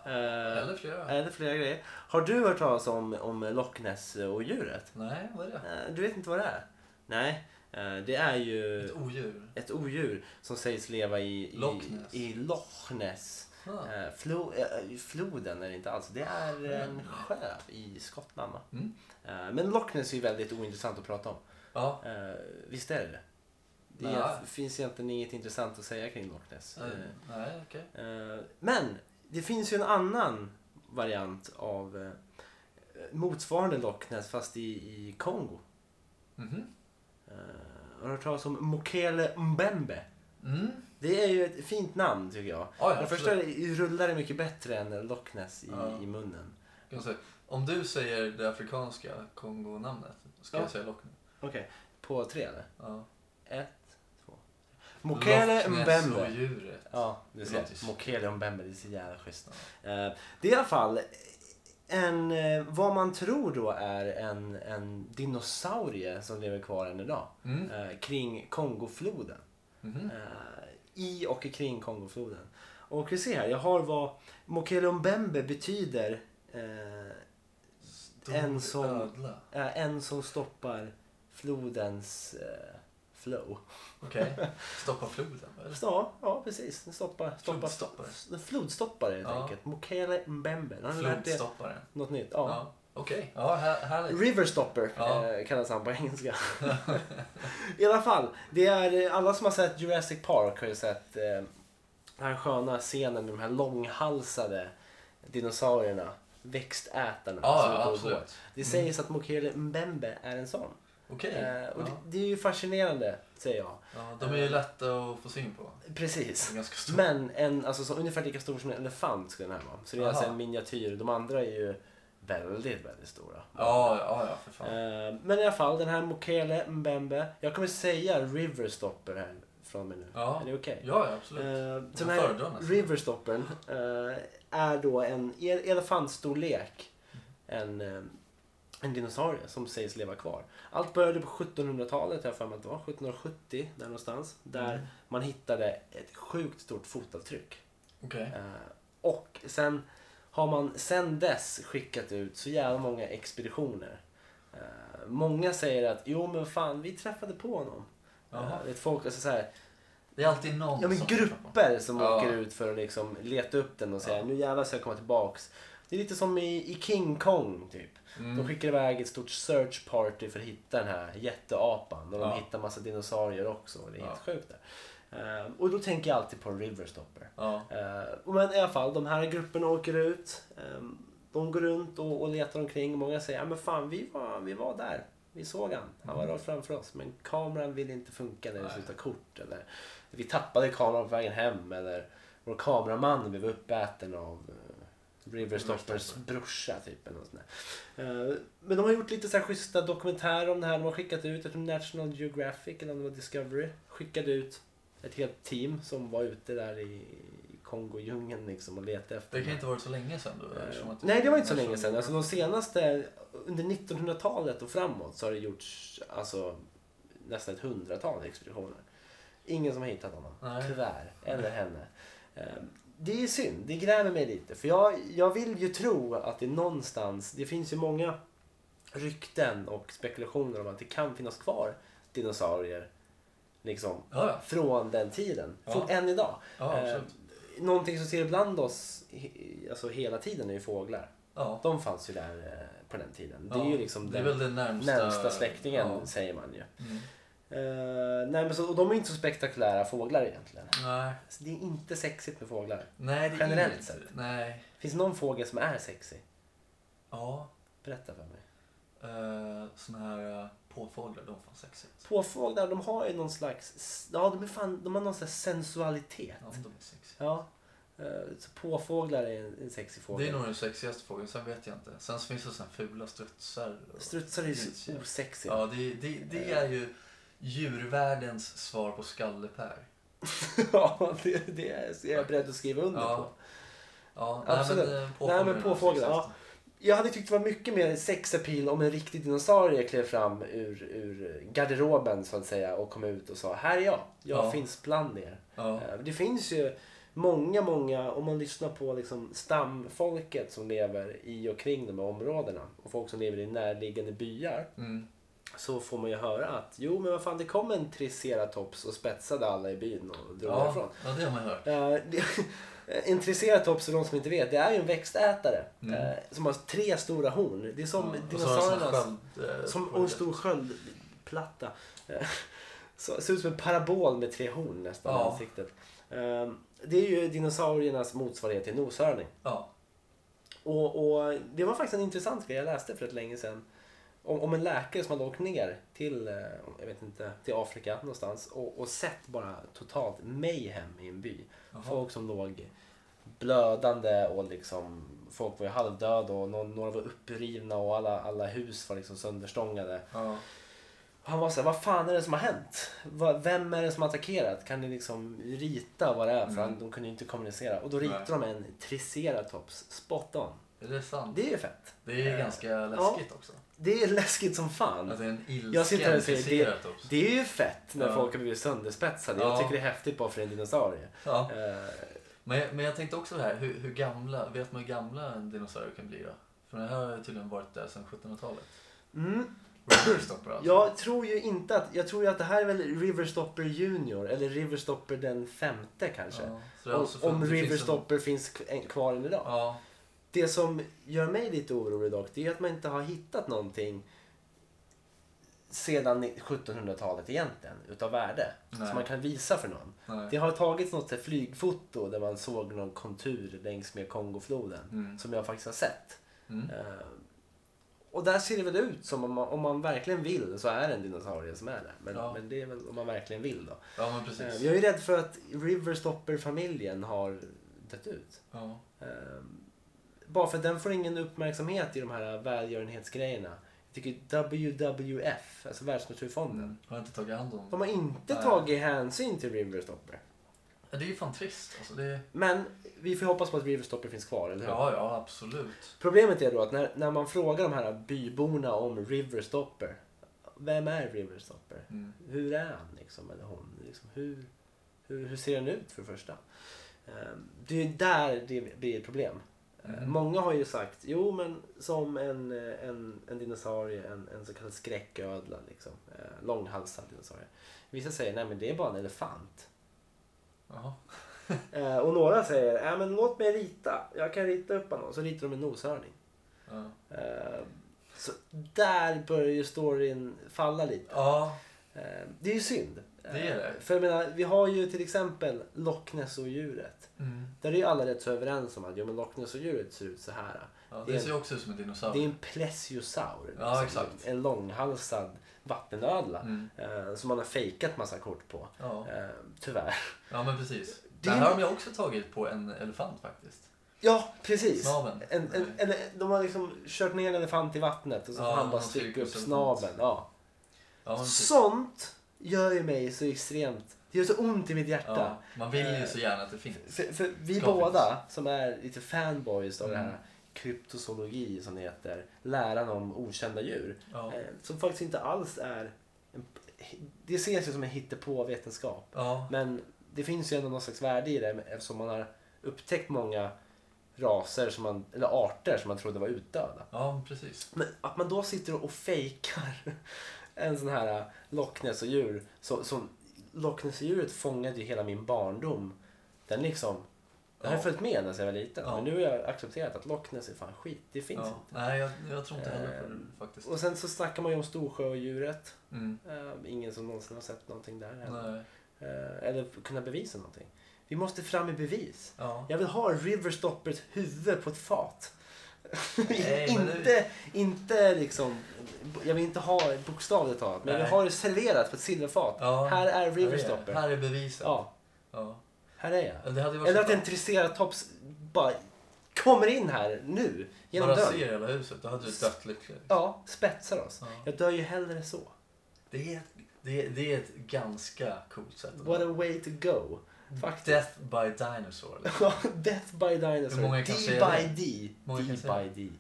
Speaker 2: Eh,
Speaker 1: Eller flera.
Speaker 2: eller flera grejer. Har du hört talas om, om Loch Ness och djuret?
Speaker 1: Nej, vad är det?
Speaker 2: Eh, Du vet inte vad det är? Nej, eh, det är ju
Speaker 1: Ett odjur.
Speaker 2: ett odjur som sägs leva i, i
Speaker 1: Loch Ness.
Speaker 2: I Loch Ness.
Speaker 1: Ah.
Speaker 2: Eh, Flo, eh, floden är det inte alls. Det är en
Speaker 1: Mm.
Speaker 2: sjö i Skottland. va?
Speaker 1: Mm.
Speaker 2: Eh, Men Loch Ness är ju väldigt ointressant att prata om.
Speaker 1: Ja,
Speaker 2: Eh, Visst är det det? Det är-
Speaker 1: Ja.
Speaker 2: finns egentligen inget intressant att säga kring Loch Ness.
Speaker 1: eh, nej, okej.
Speaker 2: Eh, Men det finns ju en annan variant av eh, motsvarande Loch Ness fast i, i Kongo.
Speaker 1: Mhm.
Speaker 2: Eh, Har du hört talas om Mokele Mbembe?
Speaker 1: Mm.
Speaker 2: Det är ju ett fint namn tycker jag.
Speaker 1: Ja, ja,
Speaker 2: Den första
Speaker 1: absolut.
Speaker 2: rullar det mycket bättre än Loch Ness i,
Speaker 1: Ja.
Speaker 2: i munnen.
Speaker 1: Kan jag säga, Om du säger det afrikanska Kongo-namnet, ska
Speaker 2: Ja.
Speaker 1: jag säga Loch Ness.
Speaker 2: Okej, på tre eller?
Speaker 1: Ja.
Speaker 2: Ett, två. Mokele
Speaker 1: Loch Ness och
Speaker 2: Mbembe.
Speaker 1: djuret.
Speaker 2: Ja, du
Speaker 1: Det låter
Speaker 2: ser.
Speaker 1: ju-
Speaker 2: Mokele Mbembe, det är så jävla schysst. Eh, Det är i alla fall en, eh, vad man tror då är en, en dinosaurie som lever kvar än idag.
Speaker 1: Mm.
Speaker 2: eh, Kring Kongofloden.
Speaker 1: Mhm.
Speaker 2: eh, i och kring Kongofloden. Och vi ser här, jag har vad Mokele Mbembe betyder. eh,
Speaker 1: Stor
Speaker 2: En som-
Speaker 1: ödla.
Speaker 2: eh, en som stoppar flodens eh, flow.
Speaker 1: Okej. Stoppa floden. vad är det?
Speaker 2: Ja, ja precis. Den stoppar, stoppar,
Speaker 1: Flodstoppare.
Speaker 2: den flodstoppar helt
Speaker 1: Ja.
Speaker 2: enkelt. Mokele Mbembe. Har ni lärt er
Speaker 1: Flodstopparen.
Speaker 2: något nytt?
Speaker 1: Ja.
Speaker 2: Ja.
Speaker 1: Okej. Ja, här, härligt.
Speaker 2: Riverstopper
Speaker 1: Ja.
Speaker 2: eh, kallas han på engelska. I alla fall, det är eh, alla som har sett Jurassic Park har ju sett eh, den här sköna scenen med de här långhalsade dinosaurierna. Växtätarna. som
Speaker 1: Ja,
Speaker 2: är på och går.
Speaker 1: absolut.
Speaker 2: Det sägs att Mokele Mbembe är en sån.
Speaker 1: Okej.
Speaker 2: Eh, och det,
Speaker 1: Ja.
Speaker 2: det är ju fascinerande, säger jag.
Speaker 1: Ja, de är ju lätta att få syn på. De
Speaker 2: Precis.
Speaker 1: är ganska stora.
Speaker 2: Men en, alltså, så, ungefär lika stor som en elefant skulle den här vara. Så det är alltså
Speaker 1: Aha.
Speaker 2: en miniatyr. De andra är ju väldigt, väldigt stora.
Speaker 1: Ja, ja, ja, för fan.
Speaker 2: Eh, men i alla fall, den här Mokele Mbembe. Jag kommer säga Riverstopper här från och med nu.
Speaker 1: Ja.
Speaker 2: Är det okej?
Speaker 1: Ja, ja, absolut.
Speaker 2: Eh, så
Speaker 1: Jag
Speaker 2: den här
Speaker 1: föredrar nästan.
Speaker 2: Riverstoppern eh, är då en el- elefantstorlek.
Speaker 1: Mm.
Speaker 2: En, eh, en dinosaurie som sägs leva kvar. Allt började på 1700-talet, jag har för mig att det var 1770 där någonstans. Där
Speaker 1: Mm.
Speaker 2: man hittade ett sjukt stort fotavtryck.
Speaker 1: Okej.
Speaker 2: Eh, och sen har man sen dess skickat ut så jävla många expeditioner. Eh, många säger att jo men fan vi träffade på honom.
Speaker 1: Jaha.
Speaker 2: Eh, vet folk, alltså så här,
Speaker 1: Det är alltid någon
Speaker 2: ja, men
Speaker 1: som
Speaker 2: grupper som
Speaker 1: Ja.
Speaker 2: åker ut för att liksom leta upp den och säga
Speaker 1: Ja.
Speaker 2: nu jävlar ska jag komma tillbaks. Det är lite som i, i King Kong typ. De
Speaker 1: Mm.
Speaker 2: skickar iväg ett stort search party för att hitta den här jätteapan. Och de
Speaker 1: Ja.
Speaker 2: hittar massa dinosaurier också. Det är helt
Speaker 1: Ja.
Speaker 2: sjukt där. Eh, och då tänker jag alltid på Riverstopper.
Speaker 1: Ja.
Speaker 2: Eh, men i alla fall, de här grupperna åker ut. Eh, de går runt och, och letar omkring. Många säger ja men fan vi var, vi var där. Vi såg han. Han var rakt framför oss. Men kameran ville inte funka när vi
Speaker 1: Mm. Nej.
Speaker 2: skulle ta kort. Eller vi tappade kameran på vägen hem. Eller vår kameraman blev uppäten av eh, Riverstoppers
Speaker 1: Riverstopper.
Speaker 2: brorsa. Typ, eller något sånt där. Eh, men de har gjort lite så här schyssta dokumentärer om det här. De har skickat ut, jag tror National Geographic eller om det var Discovery, skickade ut ett helt team som var ute där i i Kongodjungeln liksom och letade efter
Speaker 1: Det kan
Speaker 2: den
Speaker 1: inte ha varit så länge sedan då?
Speaker 2: här.
Speaker 1: eftersom att-
Speaker 2: Eh, Nej, det var inte så länge sedan. Alltså, de senaste, under 1900-talet och framåt så har det gjorts alltså, nästan ett hundratal expeditioner. Ingen som har hittat honom,
Speaker 1: Nej.
Speaker 2: tyvärr. Eller henne. Eh, Det är synd, det gräver mig lite. För jag, jag vill ju tro att det någonstans, det finns ju många rykten och spekulationer om att det kan finnas kvar dinosaurier. Liksom,
Speaker 1: Ja, ja.
Speaker 2: från den tiden.
Speaker 1: Ja.
Speaker 2: Från än idag.
Speaker 1: Ja,
Speaker 2: Eh,
Speaker 1: absolut.
Speaker 2: någonting som ser ibland oss he- alltså hela tiden är ju fåglar.
Speaker 1: Ja.
Speaker 2: De fanns ju där eh, på den tiden. Det är
Speaker 1: Ja,
Speaker 2: ju liksom
Speaker 1: det är
Speaker 2: den
Speaker 1: väl den närmsta,
Speaker 2: närmsta släktingen
Speaker 1: Ja.
Speaker 2: säger man ju.
Speaker 1: Mm.
Speaker 2: Eh, nej, men så, och de är inte så spektakulära fåglar egentligen.
Speaker 1: Nej.
Speaker 2: Så det är inte sexigt med fåglar.
Speaker 1: Nej, det är
Speaker 2: Generellt
Speaker 1: inte-
Speaker 2: sett.
Speaker 1: Nej.
Speaker 2: Finns det någon fågel som är sexig?
Speaker 1: Ja.
Speaker 2: Berätta för mig.
Speaker 1: Uh, såna här eh, påfåglar, de får sexiga.
Speaker 2: Påfåglar, de har ju någon slags... Ja, de, är fan, de har någon slags sensualitet.
Speaker 1: alltså. Ja, de är sexiga.
Speaker 2: Ja. Eh, så påfåglar är en, en sexig fågel.
Speaker 1: Det är nog den sexigaste fågeln, sen vet jag inte. Sen så finns det såna här fula strutsar. och-
Speaker 2: Strutsar är ju så
Speaker 1: Strutsar.
Speaker 2: osexiga.
Speaker 1: Ja, det, det, det
Speaker 2: Eh.
Speaker 1: är ju djurvärldens svar på skallepär.
Speaker 2: Ja, det, det är jag beredd att skriva under
Speaker 1: Ja.
Speaker 2: på.
Speaker 1: Ja,
Speaker 2: Absolut.
Speaker 1: Nej, men, eh,
Speaker 2: Nej, men
Speaker 1: är
Speaker 2: påfåglar,
Speaker 1: den
Speaker 2: ja. Jag hade tyckt det var mycket mer sexappeal om en riktig dinosaurie klev fram ur, ur garderoben så att säga och kom ut och sa här är jag, jag
Speaker 1: Ja.
Speaker 2: finns bland er.
Speaker 1: sexigaste. Ja.
Speaker 2: Eh, Det finns ju många, många, om man lyssnar på liksom stamfolket som lever i och kring de här områdena och folk som lever i närliggande byar
Speaker 1: Mm.
Speaker 2: så får man ju höra att jo men vad fan det kom en triceratops och spetsade alla i byn och drog därifrån.
Speaker 1: Ja, ja, det har man hört.
Speaker 2: Eh, det- En triceratops, för de som inte vet, det är ju en växtätare
Speaker 1: Mm.
Speaker 2: eh, som har tre stora horn. Det är som
Speaker 1: Ja, och så har den sån här
Speaker 2: dinosauriernas...
Speaker 1: sköld, eh,
Speaker 2: Som
Speaker 1: på det.
Speaker 2: och en stor sköldplatta. Eh, Så, ser ut som en parabol med tre horn nästan i
Speaker 1: Ja.
Speaker 2: ansiktet. Eh, Det är ju dinosauriernas motsvarighet till noshörning.
Speaker 1: Ja.
Speaker 2: Och, och det var faktiskt en intressant grej jag läste för ett länge sedan. Om, om en läkare som hade åkt ner till, eh, jag vet inte, till Afrika någonstans och, och sett bara totalt mayhem i en by.
Speaker 1: Jaha.
Speaker 2: Folk som låg blödande och liksom folk var ju halvdöda och någon, några var upprivna och alla, alla hus var liksom sönderstångade.
Speaker 1: ja.
Speaker 2: Och han var så här, vad fan är det som har hänt? Vad- Vem är det som har attackerat? Kan ni liksom rita vad det är? För
Speaker 1: Mm.
Speaker 2: han, de kunde ju inte kommunicera. Och då ritade de en triceratops spot on.
Speaker 1: Är det sant?
Speaker 2: Det är ju fett.
Speaker 1: Det är
Speaker 2: Eh,
Speaker 1: ganska läskigt också.
Speaker 2: Det är läskigt som fan.
Speaker 1: Att det är en ilsken
Speaker 2: Jag sitter här och säger det,
Speaker 1: triceratops.
Speaker 2: det är ju fett när
Speaker 1: Alltså- Ja.
Speaker 2: folk har blivit sönderspetsade. Jag
Speaker 1: Ja.
Speaker 2: tycker det är häftigt bara för en dinosaurie.
Speaker 1: Ja.
Speaker 2: Eh,
Speaker 1: Men, jag- men jag tänkte också det här, hur, hur gamla, vet man hur gamla en dinosaurie kan bli då? För den här har ju tydligen varit där sedan 1700-talet.
Speaker 2: mm,
Speaker 1: Roverstopper alltså.
Speaker 2: jag tror ju inte att, jag tror ju att det här är väl Riverstopper Junior eller Riverstopper den femte kanske.
Speaker 1: Ja, så det har
Speaker 2: Om,
Speaker 1: alltså
Speaker 2: om
Speaker 1: funnits- det finns
Speaker 2: Riverstopper finns k- en- kvar än
Speaker 1: en-
Speaker 2: idag.
Speaker 1: Ja,
Speaker 2: Det som gör mig lite orolig dock, det är att man inte har hittat någonting sedan 1700-talet egentligen, utav värde.
Speaker 1: Nej.
Speaker 2: Som man kan visa för någon.
Speaker 1: nej.
Speaker 2: Det har tagits något så här flygfoto där man såg någon kontur längs med Kongofloden.
Speaker 1: Mm.
Speaker 2: Som jag faktiskt har sett.
Speaker 1: Mm.
Speaker 2: Eh, och där ser det väl ut som om man, om man verkligen vill så är det en dinosaurie som är där. Men,
Speaker 1: Ja.
Speaker 2: men det är väl om man verkligen vill då.
Speaker 1: Ja, men
Speaker 2: Eh,
Speaker 1: precis.
Speaker 2: jag är ju rädd för att Riverstopper-familjen har dött ut.
Speaker 1: Ja.
Speaker 2: Ehm, Bara för att den får ingen uppmärksamhet i de här välgörenhetsgrejerna. Jag tycker WWF, alltså Världsnaturfonden.
Speaker 1: Mm. Har inte tagit hand om
Speaker 2: De har inte
Speaker 1: Nej.
Speaker 2: tagit hänsyn till Riverstopper.
Speaker 1: Ja, det är ju fan trist. Alltså, det...
Speaker 2: Men vi får hoppas på att Riverstopper finns kvar, eller hur?
Speaker 1: Ja, ja, absolut.
Speaker 2: Problemet är då att när, när man frågar de här byborna om Riverstopper. Vem är Riverstopper?
Speaker 1: Mm.
Speaker 2: Hur är han liksom, eller hon? Liksom, hur, hur, hur ser han ut för det första? Ehm, Det är ju där det blir ett problem. Ehm,
Speaker 1: Mm.
Speaker 2: Många har ju sagt, jo men som en, eh, en, en dinosaurie, en, en så kallad skräcködla, liksom, eh, långhalsad dinosaurie. Vissa säger, nej men det är bara en elefant.
Speaker 1: Jaha.
Speaker 2: Eh, Och några säger, nej men låt mig rita, jag kan rita upp honom. Så ritar de en noshörning.
Speaker 1: Ja.
Speaker 2: Ehm, Så där börjar ju storyn falla lite.
Speaker 1: ja,
Speaker 2: Eh, Det är ju synd.
Speaker 1: Det är det.
Speaker 2: Eh, För jag menar, vi har ju till exempel Loch Ness-odjuret.
Speaker 1: mm.
Speaker 2: Där är ju alla rätt så överens om att jo, men Loch Ness-odjuret ser ut så här.
Speaker 1: ja.
Speaker 2: Det är
Speaker 1: Det
Speaker 2: en-
Speaker 1: ser ju också ut som en
Speaker 2: Det är
Speaker 1: dinosaurie.
Speaker 2: en plesiosaur.
Speaker 1: Ja, exakt.
Speaker 2: En långhalsad vattenödla.
Speaker 1: Mm.
Speaker 2: Eh, som man har fejkat massa kort på.
Speaker 1: Ja.
Speaker 2: Eh, tyvärr.
Speaker 1: ja, men precis.
Speaker 2: Det
Speaker 1: Det
Speaker 2: är-
Speaker 1: här har de ju också tagit på en elefant faktiskt.
Speaker 2: Ja, precis.
Speaker 1: Snaven. Mm.
Speaker 2: En, en, en, de har liksom kört ner en elefant i vattnet och så
Speaker 1: Ja,
Speaker 2: får han bara
Speaker 1: någon
Speaker 2: stryka upp
Speaker 1: cirkuselefant.
Speaker 2: snabeln. Ja.
Speaker 1: Ja, men precis.
Speaker 2: Sånt gör ju mig så extremt... Det gör så ont i mitt hjärta.
Speaker 1: Ja, man vill
Speaker 2: Eh,
Speaker 1: ju så gärna att det finns.
Speaker 2: För, för vi
Speaker 1: Ska
Speaker 2: båda som är lite fanboys av det
Speaker 1: Mm.
Speaker 2: här kryptozoologi som det heter, läran om okända djur.
Speaker 1: Ja.
Speaker 2: Eh, som faktiskt inte alls är... En, det ses ju som en hittepå-vetenskap.
Speaker 1: Ja,
Speaker 2: Men det finns ju ändå någon slags värde i det eftersom man har upptäckt många raser, som man, eller arter som man trodde var utdöda.
Speaker 1: ja men precis.
Speaker 2: Men att man då sitter och fejkar en sån här äh, Loch Ness och djur. Så, som Loch Ness och djuret fångade ju hela min barndom. Den liksom, den har
Speaker 1: Ja.
Speaker 2: följt med när jag var liten.
Speaker 1: Ja.
Speaker 2: Men nu har jag accepterat att Loch Ness är fan skit, det finns
Speaker 1: Ja.
Speaker 2: inte.
Speaker 1: Nej, jag, jag tror inte heller på
Speaker 2: Ehm,
Speaker 1: det faktiskt.
Speaker 2: Och sen så snackar man ju om Storsjöodjuret.
Speaker 1: Mm.
Speaker 2: Eh, ingen som någonsin har sett någonting där heller.
Speaker 1: Nej.
Speaker 2: Eh, Eller kunna bevisa någonting. Vi måste fram med bevis.
Speaker 1: Ja.
Speaker 2: Jag vill ha Riverstoppers huvud på ett fat.
Speaker 1: Nej, men nu-
Speaker 2: inte, inte liksom... Jag vill inte ha bokstavligt talat, men jag vill
Speaker 1: Nej.
Speaker 2: ha det serverat på ett silverfat.
Speaker 1: Ja.
Speaker 2: Här är
Speaker 1: Här är-
Speaker 2: Riverstopper.
Speaker 1: Här Alltså, är bevisen.
Speaker 2: Ja,
Speaker 1: Ja.
Speaker 2: här är jag.
Speaker 1: Det hade ju varit
Speaker 2: Eller
Speaker 1: så
Speaker 2: att en
Speaker 1: bra.
Speaker 2: triceratops bara kommer in här nu, genom
Speaker 1: Bara
Speaker 2: dörren.
Speaker 1: ser hela huset, då hade du dött lycklig.
Speaker 2: Ja, spetsar oss.
Speaker 1: Ja.
Speaker 2: Jag dör ju hellre så.
Speaker 1: Det är, det, är, det är ett ganska coolt sätt att
Speaker 2: What a way to go. Faktiskt.
Speaker 1: Death by dinosaur. liksom.
Speaker 2: Death by dinosaur.
Speaker 1: Hur många
Speaker 2: D
Speaker 1: kan
Speaker 2: by
Speaker 1: säga det?
Speaker 2: D.
Speaker 1: Många
Speaker 2: D
Speaker 1: kan säga
Speaker 2: by D.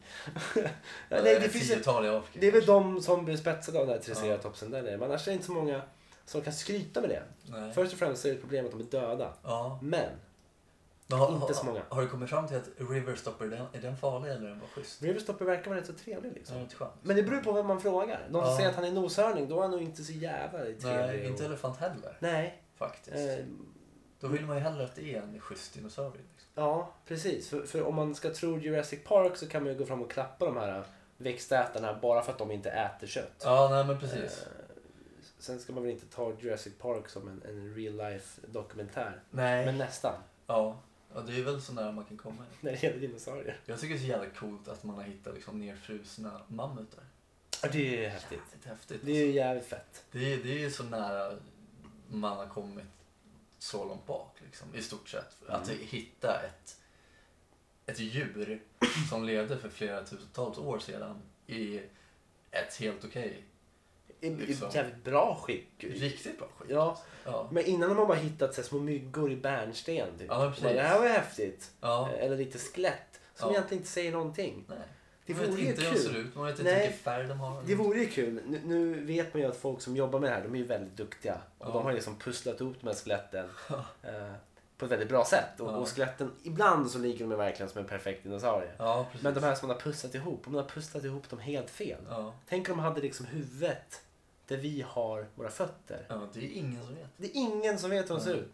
Speaker 1: Ja,
Speaker 2: Nej,
Speaker 1: är
Speaker 2: det
Speaker 1: ett
Speaker 2: finns ju
Speaker 1: tiotal i Afrika.
Speaker 2: Det är väl de som blir spetsade av den här triceratopsen där nere. Men annars är det inte så många som kan skryta med det.
Speaker 1: Nej.
Speaker 2: Först och främst så är det ett problem att de är döda.
Speaker 1: Ja.
Speaker 2: Men
Speaker 1: Men har,
Speaker 2: Inte så många.
Speaker 1: Har, har du kommit fram till att Riverstopper, är den, är den farlig eller är den bara schysst?
Speaker 2: Riverstopper verkar vara rätt så trevlig liksom.
Speaker 1: Den är inte skön.
Speaker 2: Men det beror på vem man frågar. Någon som
Speaker 1: Ja.
Speaker 2: säger att han är noshörning, då är han nog inte så jävla trevlig.
Speaker 1: Nej,
Speaker 2: och-
Speaker 1: inte elefant heller
Speaker 2: Nej.
Speaker 1: faktiskt.
Speaker 2: Eh,
Speaker 1: Då vill man ju hellre att det är en schysst dinosaurie. Liksom.
Speaker 2: ja, precis. För, för om man ska tro Jurassic Park så kan man ju gå fram och klappa de här växtätarna bara för att de inte äter kött.
Speaker 1: Ja, nej men precis.
Speaker 2: Eh, sen ska man väl inte ta Jurassic Park som en, en real life dokumentär.
Speaker 1: nej.
Speaker 2: Men nästan.
Speaker 1: Ja. ja, det är väl så nära man kan komma.
Speaker 2: När det gäller dinosaurier.
Speaker 1: Jag tycker det är så jävla coolt att man har hittat liksom nerfrusna mammutar.
Speaker 2: Ja, det är häftigt.
Speaker 1: Det är häftigt.
Speaker 2: Det är ju jävligt fett.
Speaker 1: Det är, det är ju så nära man har kommit så långt bak liksom, i stort sett. Att
Speaker 2: Mm.
Speaker 1: hitta ett, ett djur som levde för flera tusentals år sedan i ett helt okej,
Speaker 2: I, i
Speaker 1: Liksom.
Speaker 2: jävligt bra skick.
Speaker 1: riktigt bra skit.
Speaker 2: Ja,
Speaker 1: Ja.
Speaker 2: men innan har man bara hittat så här, små myggor i bärnsten. Typ.
Speaker 1: Ja, men precis.
Speaker 2: Bara, det här var ju häftigt.
Speaker 1: ja.
Speaker 2: Eller lite skelett. Som
Speaker 1: Ja.
Speaker 2: egentligen inte säger någonting.
Speaker 1: Nej.
Speaker 2: Det
Speaker 1: man vet
Speaker 2: vore ju
Speaker 1: inte hur de ser
Speaker 2: kul.
Speaker 1: ut, man vet inte
Speaker 2: Nej.
Speaker 1: vilken färg de har.
Speaker 2: Det vore ju kul. Nu, nu vet man ju att folk som jobbar med det här, de är ju väldigt duktiga. Och
Speaker 1: Ja.
Speaker 2: de har ju liksom pusslat ihop de här skeletten eh, på ett väldigt bra sätt. Och,
Speaker 1: Ja.
Speaker 2: och skeletten, ibland så ligger de ju verkligen som en perfekt dinosaurie.
Speaker 1: Ja, precis.
Speaker 2: Men de här som man har pusslat ihop, om man har pusslat ihop dem helt fel.
Speaker 1: ja.
Speaker 2: Tänk om de hade liksom huvudet där vi har våra fötter.
Speaker 1: ja, det är ingen som vet.
Speaker 2: Det är ingen som vet hur de ser
Speaker 1: Nej.
Speaker 2: ut.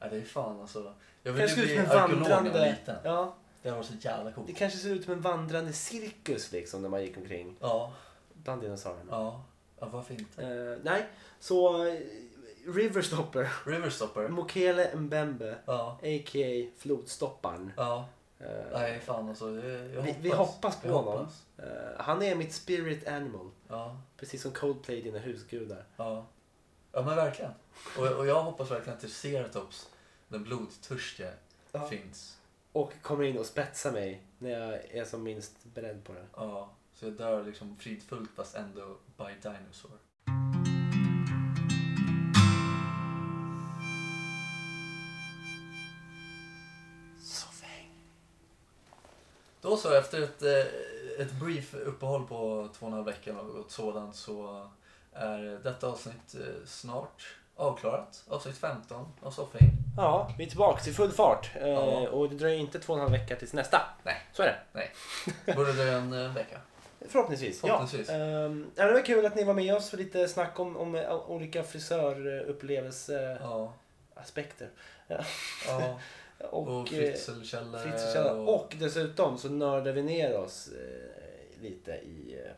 Speaker 1: Ja, det är fan alltså. Jag ville
Speaker 2: Kanske ser ut
Speaker 1: bli
Speaker 2: som en
Speaker 1: arkeolog när jag var
Speaker 2: vandrande...
Speaker 1: liten.
Speaker 2: Ja,
Speaker 1: Det var så jävla
Speaker 2: det
Speaker 1: coolt.
Speaker 2: kanske ser ut som en vandrande cirkus liksom när man gick omkring
Speaker 1: Ja,
Speaker 2: bland dinosaurierna.
Speaker 1: ja. Ja, varför inte?
Speaker 2: Eh, nej, så eh, Riverstopper,
Speaker 1: Riverstopper.
Speaker 2: Mokele Mbembe,
Speaker 1: Ja.
Speaker 2: a.k.a. Flodstopparen.
Speaker 1: Ja,
Speaker 2: Eh,
Speaker 1: nej fan alltså. det- Jag
Speaker 2: vi, vi hoppas på
Speaker 1: Jag
Speaker 2: honom.
Speaker 1: hoppas.
Speaker 2: Eh, han är mitt spirit animal.
Speaker 1: Ja,
Speaker 2: Precis som Coldplay, dina husgudar.
Speaker 1: ja. Ja men verkligen. Och, och jag hoppas verkligen att Triceratops, den blodtörstiga,
Speaker 2: Ja.
Speaker 1: finns.
Speaker 2: Och kommer in och spetsar mig när jag är som minst beredd på det.
Speaker 1: Ja, så jag dör liksom fridfullt fast ändå by dinosaur. Då så, efter ett, eh, ett brief uppehåll på två och en halv vecka och något sådant så är detta avsnitt eh, snart avklarat. Avsnitt 15 av Soffing.
Speaker 2: Ja, vi är tillbaka i full fart. Eh,
Speaker 1: Ja.
Speaker 2: Och det dröjer inte två och en halv vecka tills nästa.
Speaker 1: Nej.
Speaker 2: Så är det.
Speaker 1: Borde det en eh, vecka?
Speaker 2: Förhoppningsvis.
Speaker 1: Förhoppningsvis.
Speaker 2: Ja. Ehm, ja, det var kul att ni var med oss för lite snack om, om eh, olika frisörupplevelseaspekter.
Speaker 1: Ja.
Speaker 2: aspekter
Speaker 1: ja.
Speaker 2: och,
Speaker 1: Och
Speaker 2: eh,
Speaker 1: fritzelkällor.
Speaker 2: Fritzl och... och dessutom så nördar vi ner oss eh, lite i eh,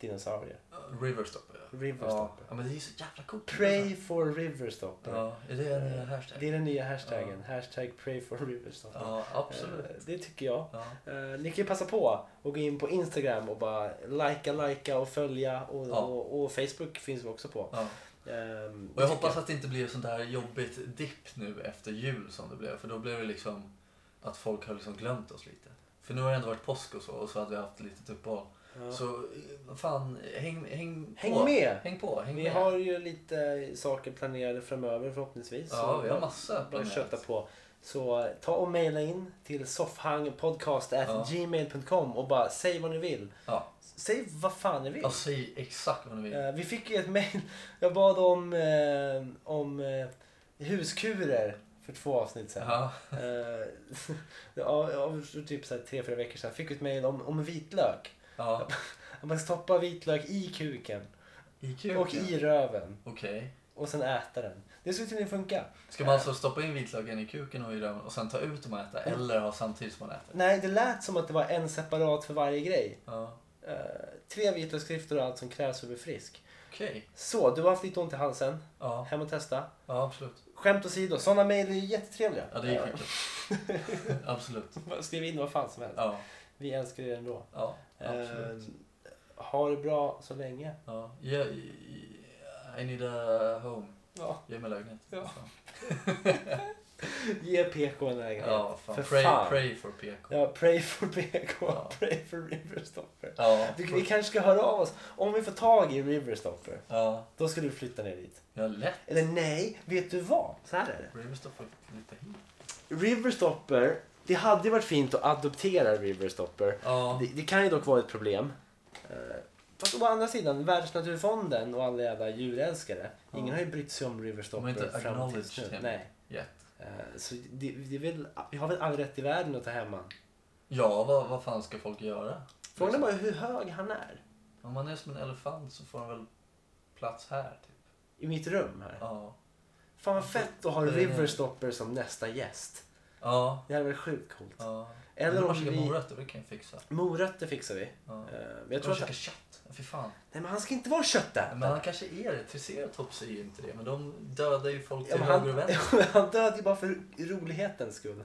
Speaker 2: dinosaurier.
Speaker 1: Riverstopper. ja.
Speaker 2: Riverstopper.
Speaker 1: Ja, men det är ju så jävla coolt.
Speaker 2: Pray for Riverstopper.
Speaker 1: Ja, är det en eh, hashtag?
Speaker 2: Det är den nya hashtaggen. Hashtag pray for Riverstopper.
Speaker 1: Ja, absolut.
Speaker 2: Eh, det tycker jag.
Speaker 1: Ja.
Speaker 2: Eh, ni kan ju passa på och gå in på Instagram och bara likea, likea och följa. Och,
Speaker 1: Ja.
Speaker 2: och, och Facebook finns vi också på.
Speaker 1: Ja.
Speaker 2: Ehm,
Speaker 1: Och jag
Speaker 2: tycker
Speaker 1: hoppas att det inte blir sånt där jobbigt dipp nu efter jul som det blev. För då blev det liksom att folk har liksom glömt oss lite. För nu har det ändå varit påsk och så och så hade vi haft lite uppehåll.
Speaker 2: Ja.
Speaker 1: Så eh, fan, häng, häng på.
Speaker 2: Häng med!
Speaker 1: Häng på, häng
Speaker 2: Vi
Speaker 1: med.
Speaker 2: har ju lite saker planerade framöver förhoppningsvis.
Speaker 1: Ja,
Speaker 2: Så
Speaker 1: vi har
Speaker 2: bara-
Speaker 1: massa
Speaker 2: Bara
Speaker 1: planerat.
Speaker 2: köta på. Så ta och mejla in till soffhangpodcast.gmail.com och bara säg vad ni vill.
Speaker 1: Ja.
Speaker 2: Säg vad fan ni vill.
Speaker 1: ja, säg exakt vad ni vill.
Speaker 2: Eh, vi fick ju ett mejl. Jag bad om, eh, om eh, huskurer för två avsnitt sedan.
Speaker 1: Ja.
Speaker 2: Eh, ja, ja, för typ så här tre, fyra veckor sedan fick vi ett mejl om, om vitlök.
Speaker 1: Ja,
Speaker 2: Att man stoppar vitlök i kuken
Speaker 1: i kuken.
Speaker 2: och i röven
Speaker 1: Okej.
Speaker 2: och sen äta den. Det skulle tydligen funka.
Speaker 1: Ska man alltså stoppa in vitlöken i kuken och i röven och sen ta ut dem och äta
Speaker 2: Mm.
Speaker 1: eller ha samtidigt som man äter?
Speaker 2: Nej, det lät som att det var en separat för varje grej.
Speaker 1: Ja.
Speaker 2: Eh, tre vitlöksskrifter och allt som krävs för att bli frisk.
Speaker 1: Okej.
Speaker 2: Så, du har haft lite ont i halsen.
Speaker 1: Ja.
Speaker 2: Hem och testa.
Speaker 1: ja, absolut.
Speaker 2: Skämt åsido, sådana mejl är ju jättetrevliga.
Speaker 1: Ja, det är skitkul. absolut.
Speaker 2: Eh, Skriv in vad fan som helst.
Speaker 1: Ja,
Speaker 2: Vi älskar er ändå.
Speaker 1: ja,
Speaker 2: Eh,
Speaker 1: absolut.
Speaker 2: ha det bra så länge.
Speaker 1: Ja. Yeah, I need a home.
Speaker 2: Ja.
Speaker 1: Ge mig lägenhet.
Speaker 2: Ja.
Speaker 1: Fan.
Speaker 2: Ge PK en lägenhet.
Speaker 1: ja fan.
Speaker 2: För
Speaker 1: Pray,
Speaker 2: fan.
Speaker 1: pray for PK.
Speaker 2: Ja, pray for PK,
Speaker 1: Ja.
Speaker 2: pray for Riverstopper.
Speaker 1: Ja.
Speaker 2: Vi, vi kanske ska höra av oss. Om vi får tag i Riverstopper,
Speaker 1: Ja,
Speaker 2: då ska du flytta ner dit.
Speaker 1: ja lätt.
Speaker 2: Eller nej, vet du vad? Så här är det.
Speaker 1: Riverstopper flytta hit.
Speaker 2: Riverstopper, det hade ju varit fint att adoptera Riverstopper.
Speaker 1: Ja,
Speaker 2: Det, det kan ju dock vara ett problem. Eh, Fast å andra sidan, Världsnaturfonden och alla jävla djurälskare. Ingen
Speaker 1: Ja.
Speaker 2: har ju brytt sig om
Speaker 1: de
Speaker 2: Riverstopper
Speaker 1: har inte
Speaker 2: fram tills
Speaker 1: acknowledged
Speaker 2: nu.
Speaker 1: him
Speaker 2: Nej.
Speaker 1: yet.
Speaker 2: Eh, Så det, det är väl, vi har väl all rätt i världen att ta hem han.
Speaker 1: Ja, vad, vad fan ska folk göra?
Speaker 2: Frågan är bara hur hög han är.
Speaker 1: Om man är som en elefant så får han väl plats här typ.
Speaker 2: I mitt rum här.
Speaker 1: Ja.
Speaker 2: Fan vad fett att ha
Speaker 1: Det är-
Speaker 2: Riverstopper som nästa gäst.
Speaker 1: Ja.
Speaker 2: Det hade varit sjukt coolt.
Speaker 1: ja.
Speaker 2: Eller om
Speaker 1: käka
Speaker 2: vi...
Speaker 1: morötter, det kan jag fixa.
Speaker 2: Morötter fixar vi.
Speaker 1: Ja.
Speaker 2: Eh, Men jag tror
Speaker 1: och
Speaker 2: att...
Speaker 1: käka kött. Fy fan.
Speaker 2: Nej men han ska inte vara köttätare.
Speaker 1: Men han kanske är det. Triceratops är ju inte det. Men de dödar ju folk
Speaker 2: Ja,
Speaker 1: till
Speaker 2: men
Speaker 1: höger och
Speaker 2: han,
Speaker 1: vänster.
Speaker 2: han död ju bara för rolighetens skull.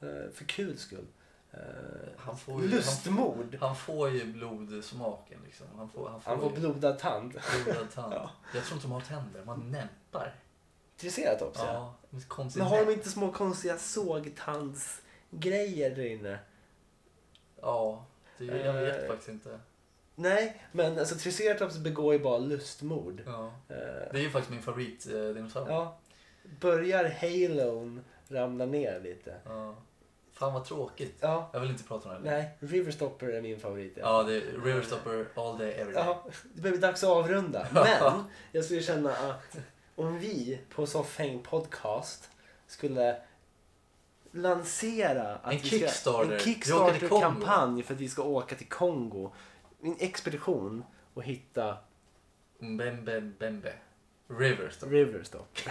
Speaker 2: Eh, För kul skull. Eh,
Speaker 1: Han får ju-
Speaker 2: Lustmord.
Speaker 1: Han får ju blodsmaken liksom. Han får, han får,
Speaker 2: Han får
Speaker 1: ju
Speaker 2: blodad tand.
Speaker 1: blodad tand.
Speaker 2: Ja.
Speaker 1: Jag tror inte de har tänder. Man nämpar.
Speaker 2: Triceratops ja.
Speaker 1: Ja, med konstigt
Speaker 2: Men har
Speaker 1: näbb.
Speaker 2: de inte små konstiga sågtandsgrejer där inne?
Speaker 1: Ja, det, jag vet
Speaker 2: Eh.
Speaker 1: faktiskt inte.
Speaker 2: Nej, men alltså Triceratops begår ju bara lustmord.
Speaker 1: Ja.
Speaker 2: Eh,
Speaker 1: Det är ju faktiskt min eh, favoritdinosaurie.
Speaker 2: ja. Börjar Halon ramla ner lite?
Speaker 1: Ja. Fan vad tråkigt.
Speaker 2: Ja.
Speaker 1: Jag vill inte prata om det. här.
Speaker 2: Nej, Riverstopper är min favorit. ja.
Speaker 1: Ja, det är Riverstopper all day every day.
Speaker 2: Ja, det börjar bli dags att avrunda. Men jag skulle känna att om vi på Soffhäng Podcast skulle lansera att
Speaker 1: En
Speaker 2: vi ska-
Speaker 1: Kickstarter.
Speaker 2: en
Speaker 1: Vi åker till Kongo.
Speaker 2: Kickstarter-kampanj för att vi ska åka till Kongo. En expedition och hitta
Speaker 1: Mbembe Mbembe. Riverstopper.
Speaker 2: Riverstock.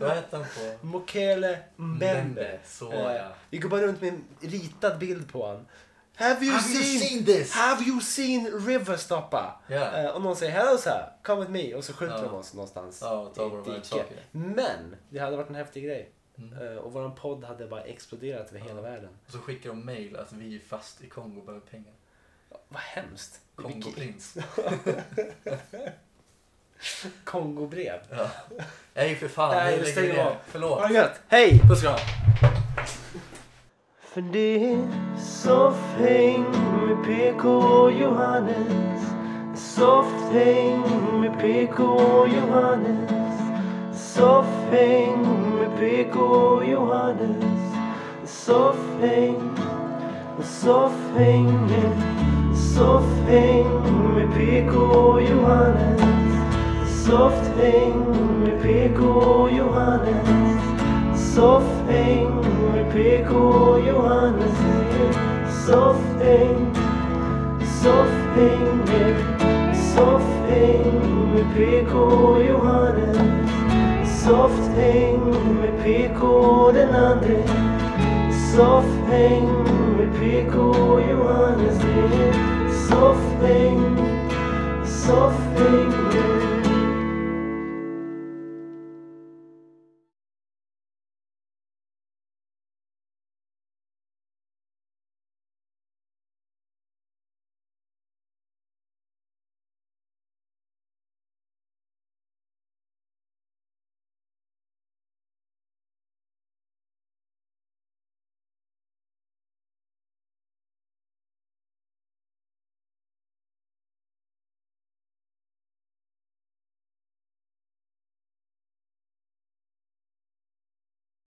Speaker 1: Vad hette han på?
Speaker 2: Mokele Mbembe.
Speaker 1: Så
Speaker 2: Eh,
Speaker 1: ja.
Speaker 2: Vi går bara runt med en ritad bild på honom. Have you,
Speaker 1: Have you
Speaker 2: seen,
Speaker 1: seen this?
Speaker 2: Have you seen Riverstopper?
Speaker 1: Ja.
Speaker 2: Eh, om någon säger hello sir, come with me och så skjuter
Speaker 1: Ja.
Speaker 2: de oss någonstans.
Speaker 1: Ja, och tar
Speaker 2: i
Speaker 1: våra
Speaker 2: ett dike.
Speaker 1: världssaker.
Speaker 2: Men det hade varit en häftig grej.
Speaker 1: Mm.
Speaker 2: Eh, och våran podd hade bara exploderat över hela världen.
Speaker 1: Och så skickar de mail att vi är fast i Kongo och behöver pengar.
Speaker 2: Vad hemskt. Vilket-
Speaker 1: Kongoprins.
Speaker 2: Kongobrev.
Speaker 1: Ja. Nej för fan,
Speaker 2: Nej,
Speaker 1: vi lägger
Speaker 2: stäng av.
Speaker 1: ner. Förlåt.
Speaker 2: Ha det gött. Hej!
Speaker 1: Puss och kram.
Speaker 2: För det är soffhäng med PK och oh, Johannes Soffhäng med PK och oh, Johannes Soffhäng med PK och oh, Johannes Soffhäng, soffhäng Soffhäng med PK och oh, Johannes Soffhäng med PK och oh, Johannes Soffhäng med PK och Johannes Soffhäng Soffhäng med Soffhäng med PK och Johannes Soffhäng med PK och den andre Soffhäng med PK och Johannes Soffhäng Soffhäng